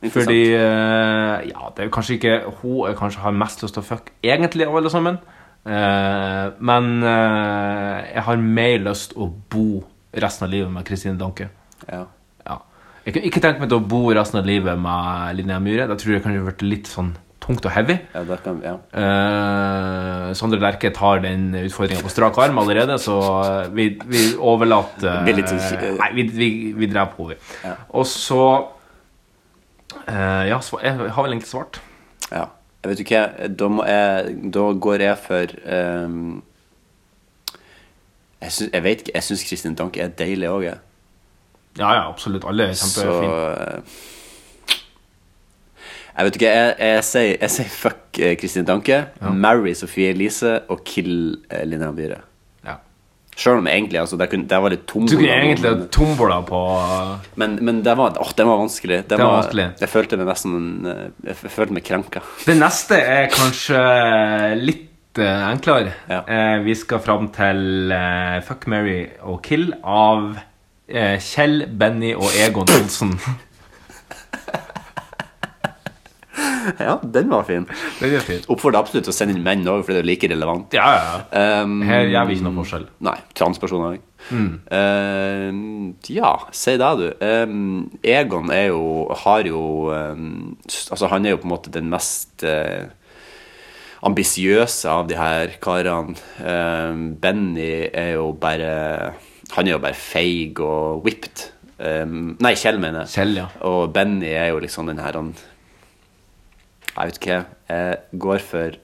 interessant.
Fordi eh, Ja, det er jo kanskje ikke hun jeg kanskje har mest lyst til å fuck egentlig av alle sammen. Eh, men eh, jeg har mer lyst å bo resten av livet med Kristine Danke.
ja.
Ja. Jeg kunne ikke tenkt meg til å bo resten av livet med Linnea Myhre. Da tror jeg det kunne vært litt sånn tungt og heavy.
ja, da kan vi Ja.
Eh, Sondre Lerche tar den utfordringa på strak arm allerede, så eh, vi, vi overlater
Det er litt sånn-
eh, Nei, vi, vi, vi dreper henne, vi. Og så eh, Ja, sva- jeg har vel egentlig svart.
ja. Jeg vet ikke, da, må jeg, da går jeg for ehm, jeg, syns, jeg vet ikke, jeg syns Kristin Danke er deilig òg, jeg.
Ja, ja, absolutt. Alle er
Så eh,
kjempefine.
Jeg vet ikke, jeg, jeg, sier, jeg sier fuck eh, Kristin Danke, marry Sofie Elise og kill eh, Linnea Myhre.
Ja.
Sjøl om egentlig, altså, det, kunne, det var litt tom
Du kunne egentlig hatt tombola på
Men, men det var, åh, den var vanskelig. Den
var
var,
vanskelig.
Jeg følte meg nesten eh, Jeg f- følte meg krenka.
Det neste er kanskje litt eh, enklere.
Ja.
Eh, vi skal fram til eh, Fuck, Mary og Kill av eh, Kjell, Benny og Egon
(laughs)
Olsen.
(laughs) Ja, den var fin.
Den er fin.
Oppfordrer absolutt til å sende inn menn òg, for det er jo like relevant.
Ja, ja, ja.
Um,
Her gjør vi ikke noe forskjell.
Nei. Transpersoner òg. ja, si det, du. Um, Egon er jo Har jo um, s- Altså, han er jo på en måte den mest eh, ambisiøse av de her karene. Um, Benny er jo bare Han er jo bare feig og whipped. Um, nei, Kjell, mener jeg.
Kjell, ja.
Og Benny er jo liksom den her han Jeg vet ikke. Jeg går for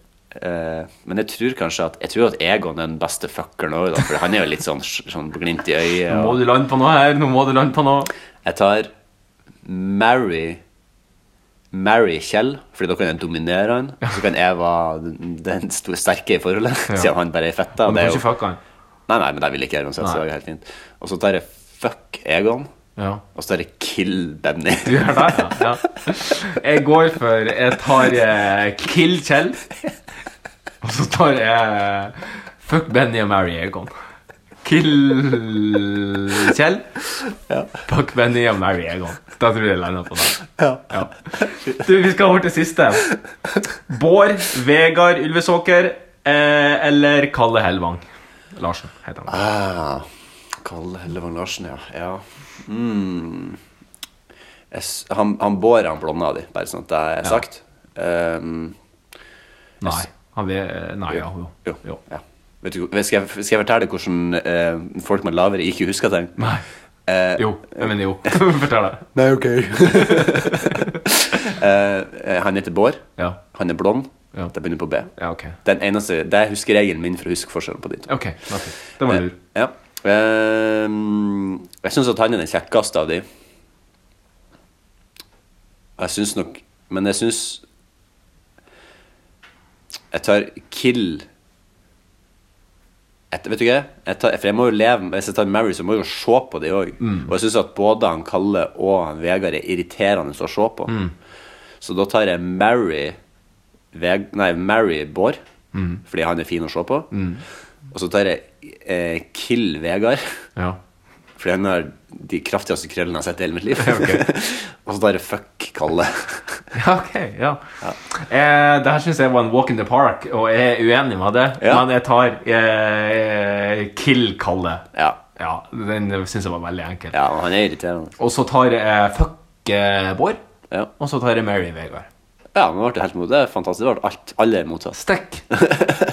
eh, Men jeg tror kanskje at Jeg tror at Egon er den beste fuckeren òg, da. For han er jo litt sånn, sånn glimt i øyet.
Nå må
Og
du lande på noe her. Nå må du lande på noe.
jeg tar Mary Mary Kjell, Fordi da kan jeg dominere han. Så kan jeg være den- den sto- sterke i forholdet, siden han bare er fetta.
Men du kan
det er jo-
ikke fucke han.
Nei, nei, men det vil jeg ikke gjøre uansett, så
Nei.
det er helt fint. Og så tar jeg fuck Egon,
Ja.
og så tar jeg kill Benny.
Du gjør det, ja. ja.
(laughs)
Jeg går for Jeg tar eh, Kill Kjell. Og så tar jeg Fuck Benny og Mary Egon. Kill Kjell. Fuck Benny og Mary Egon. Da tror jeg jeg lander på det. Ja. Du, vi skal over til siste. Bård Vegard Ulvesåker eh, eller Kalle Hellvang. Larsen heter han.
Ah, Kalle Hellevang Larsen, ja. ja. Mm. Jeg s- Han, han Bård han blonda di, bare sånn at det er sagt. Um,
Nei. Han ved, nei, ja, jo.
jo. Eh, Ja. Vet du, hva- skal, jeg, skal jeg fortelle hvordan eh, folk med lavere ikke husker
(laughs)
ting?
Nei.
Eh,
Jo. Jeg mener jo. (laughs) Fortell det.
Nei, (laughs) ok. Eh, han heter Bård.
Ja.
Han er blond.
Ja.
Det begynner på B.
Ja, ok.
Den eneste, det er huskeregelen min for å huske forskjellen på de to.
Ok, det var fint. Det var lur.
Eh, Ja. Ehm, jeg syns at han er den kjekkeste av de. Jeg syns nok Men jeg syns Jeg tar Kill Et, Vet du hva? Jeg tar, for jeg må jo leve Hvis jeg tar Mary, så må jeg jo se på de òg. Og jeg syns at både han Kalle og han Vegard er irriterende å se på. Så da tar jeg Mary Veg, Nei, Mary Bård. fordi han er fin å se på. Og så tar jeg eh, Kill Vegard,
Ja.
fordi han har de kraftigste krøllene jeg har sett i hele mitt
(laughs)
liv. (laughs) og så tar jeg Fuck Kalle. (laughs)
(laughs) Ja, ok, ja. Eh, det her syns jeg var en walk in the park, og jeg er uenig med det.
Ja.
Men jeg tar eh, Kill Kalle.
ja.
Ja, den syns jeg var veldig enkel.
ja, han er irriterende.
Og så tar jeg eh, Fuck eh, Bård.
Ja,
Og så tar jeg Mary Vegard.
ja men det ble helt mot. Det er fantastisk. Det ble alt, alle er motsatt.
Stikk!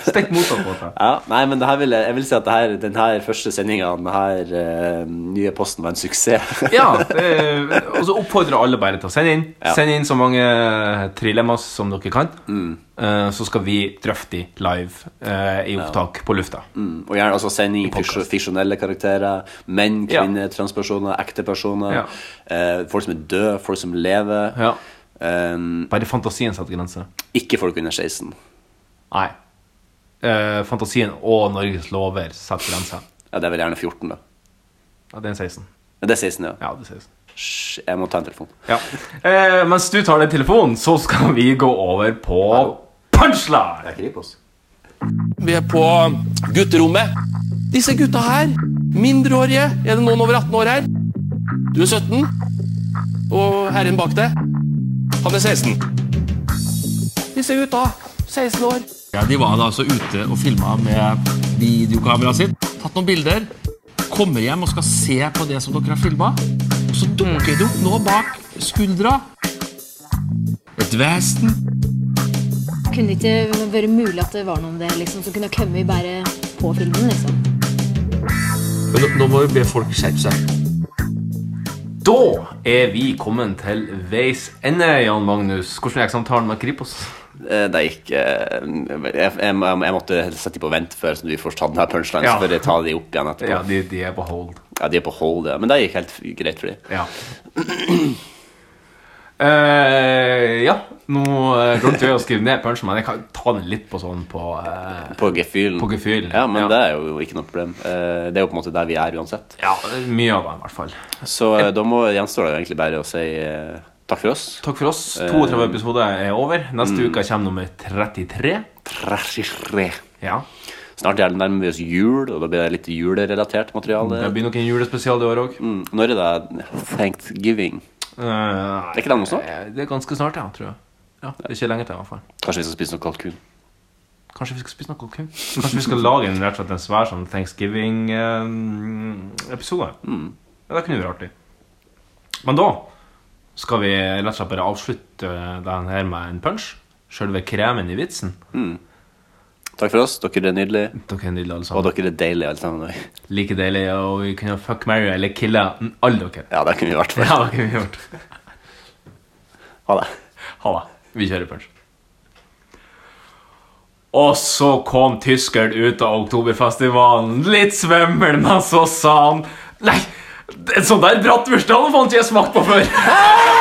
Stikk motsatt på det.
(laughs) Ja, nei, men det her vil jeg, jeg vil si at det her, den her første sendinga, den her eh, nye posten, var en suksess.
Ja,
(laughs)
det, og så oppfordrer alle bare til å sende inn.
Ja.
Send inn så mange eh, trilemmas som dere kan.
Mm.
Eh, så skal vi drøfte de live eh, i opptak på lufta.
Mm, Og gjerne også send inn fiksjo- fiksjonelle karakterer. Menn,
Ja.
kvinner, transpersoner, ekte personer.
Ja.
Eh, folk som er døde, folk som lever.
Ja.
Eh,
Bare fantasien setter grenser.
ikke folk under 16.
Nei. Eh, fantasien og Norges lover setter grenser.
Ja, det er vel gjerne 14, da.
Ja, det er en 16.
Men det er 16, ja.
Ja, det er 16.
Sj, jeg må ta en telefon.
Ja. Eh, mens du tar den telefonen, så skal vi gå over på punchline!
Vi er på gutterommet. Disse gutta her, mindreårige. Er det noen over 18 år her? Du er 17, og herren bak deg, han er 16. Disse gutta, 16 år. Ja, de var da altså ute og filma med videokameraet sitt. Tatt noen bilder. Kommer hjem og skal se på det som dere har filma. Og så dukker det opp noe bak skuldra. Et vesen.
Kunne det ikke vært mulig at det var noe om det liksom, som kunne komme bare på filmen? liksom?
Men nå- nå må vi be folk skjerpe seg.
Da er vi kommet til veis ende, Jan Magnus. Hvordan gikk samtalen med Kripos?
Eh, Det gikk eh, jeg, jeg, jeg, jeg måtte sette de på vent før så vi får tatt den her punchlinen.
Ja.
Så får jeg ta de opp igjen etterpå.
Ja, de, de er på hold.
Ja, de er på hold, ja. Men det gikk helt greit for de.
Ja. Eh, ja, nå eh, glemte vi å skrive ned punchen, men jeg kan ta den litt på sånn på eh,
På gefühlen.
På gefühlen,
Ja, men
ja.
det er jo ikke noe problem. Eh, Det er jo på en måte der vi er uansett.
Ja, mye av den, i hvert fall.
Så eh, da må gjenstår det jo egentlig bare å si eh, takk for oss.
Takk for oss.
Eh,
32 episoder er over. Neste
mm.
uke kommer nummer 33. Ja.
Snart er det nærmer vi oss jul, og da blir det litt julerelatert
Det
materiale.
blir nok en julespesial i år Eh, òg.
Mm, Når er det thanksgiving? Er ikke det noe snart?
eh, Det er ganske snart, ja, tror jeg. Ja, det er ikke lenge til, i hvert fall.
Kanskje vi skal spise noe kalkun?
Kanskje vi skal spise noe kalkun? Kanskje vi
(laughs)
skal lage en, rett og slett en svær sånn thanksgiving-episode?
Mm.
Ja, det kunne vært artig. Men da skal vi rett og slett bare avslutte den her med en punch. Sjølve kremen i vitsen.
Takk for oss. Dere er nydelige.
Dere er nydelige, alle
Og
sammen.
dere er deilige alle sammen. også.
Like deilige, og vi kunne fuck, marry eller kille alle dere.
Ja, det kunne vi vært for.
Ja, det kunne vi gjort.
Ha det.
Ha det. Vi kjører punch. Og så kom tyskeren ut av Oktoberfestivalen, litt svimmel, men så sa han Nei, en sånn der bratwurst hadde faen ikke jeg smakt på før!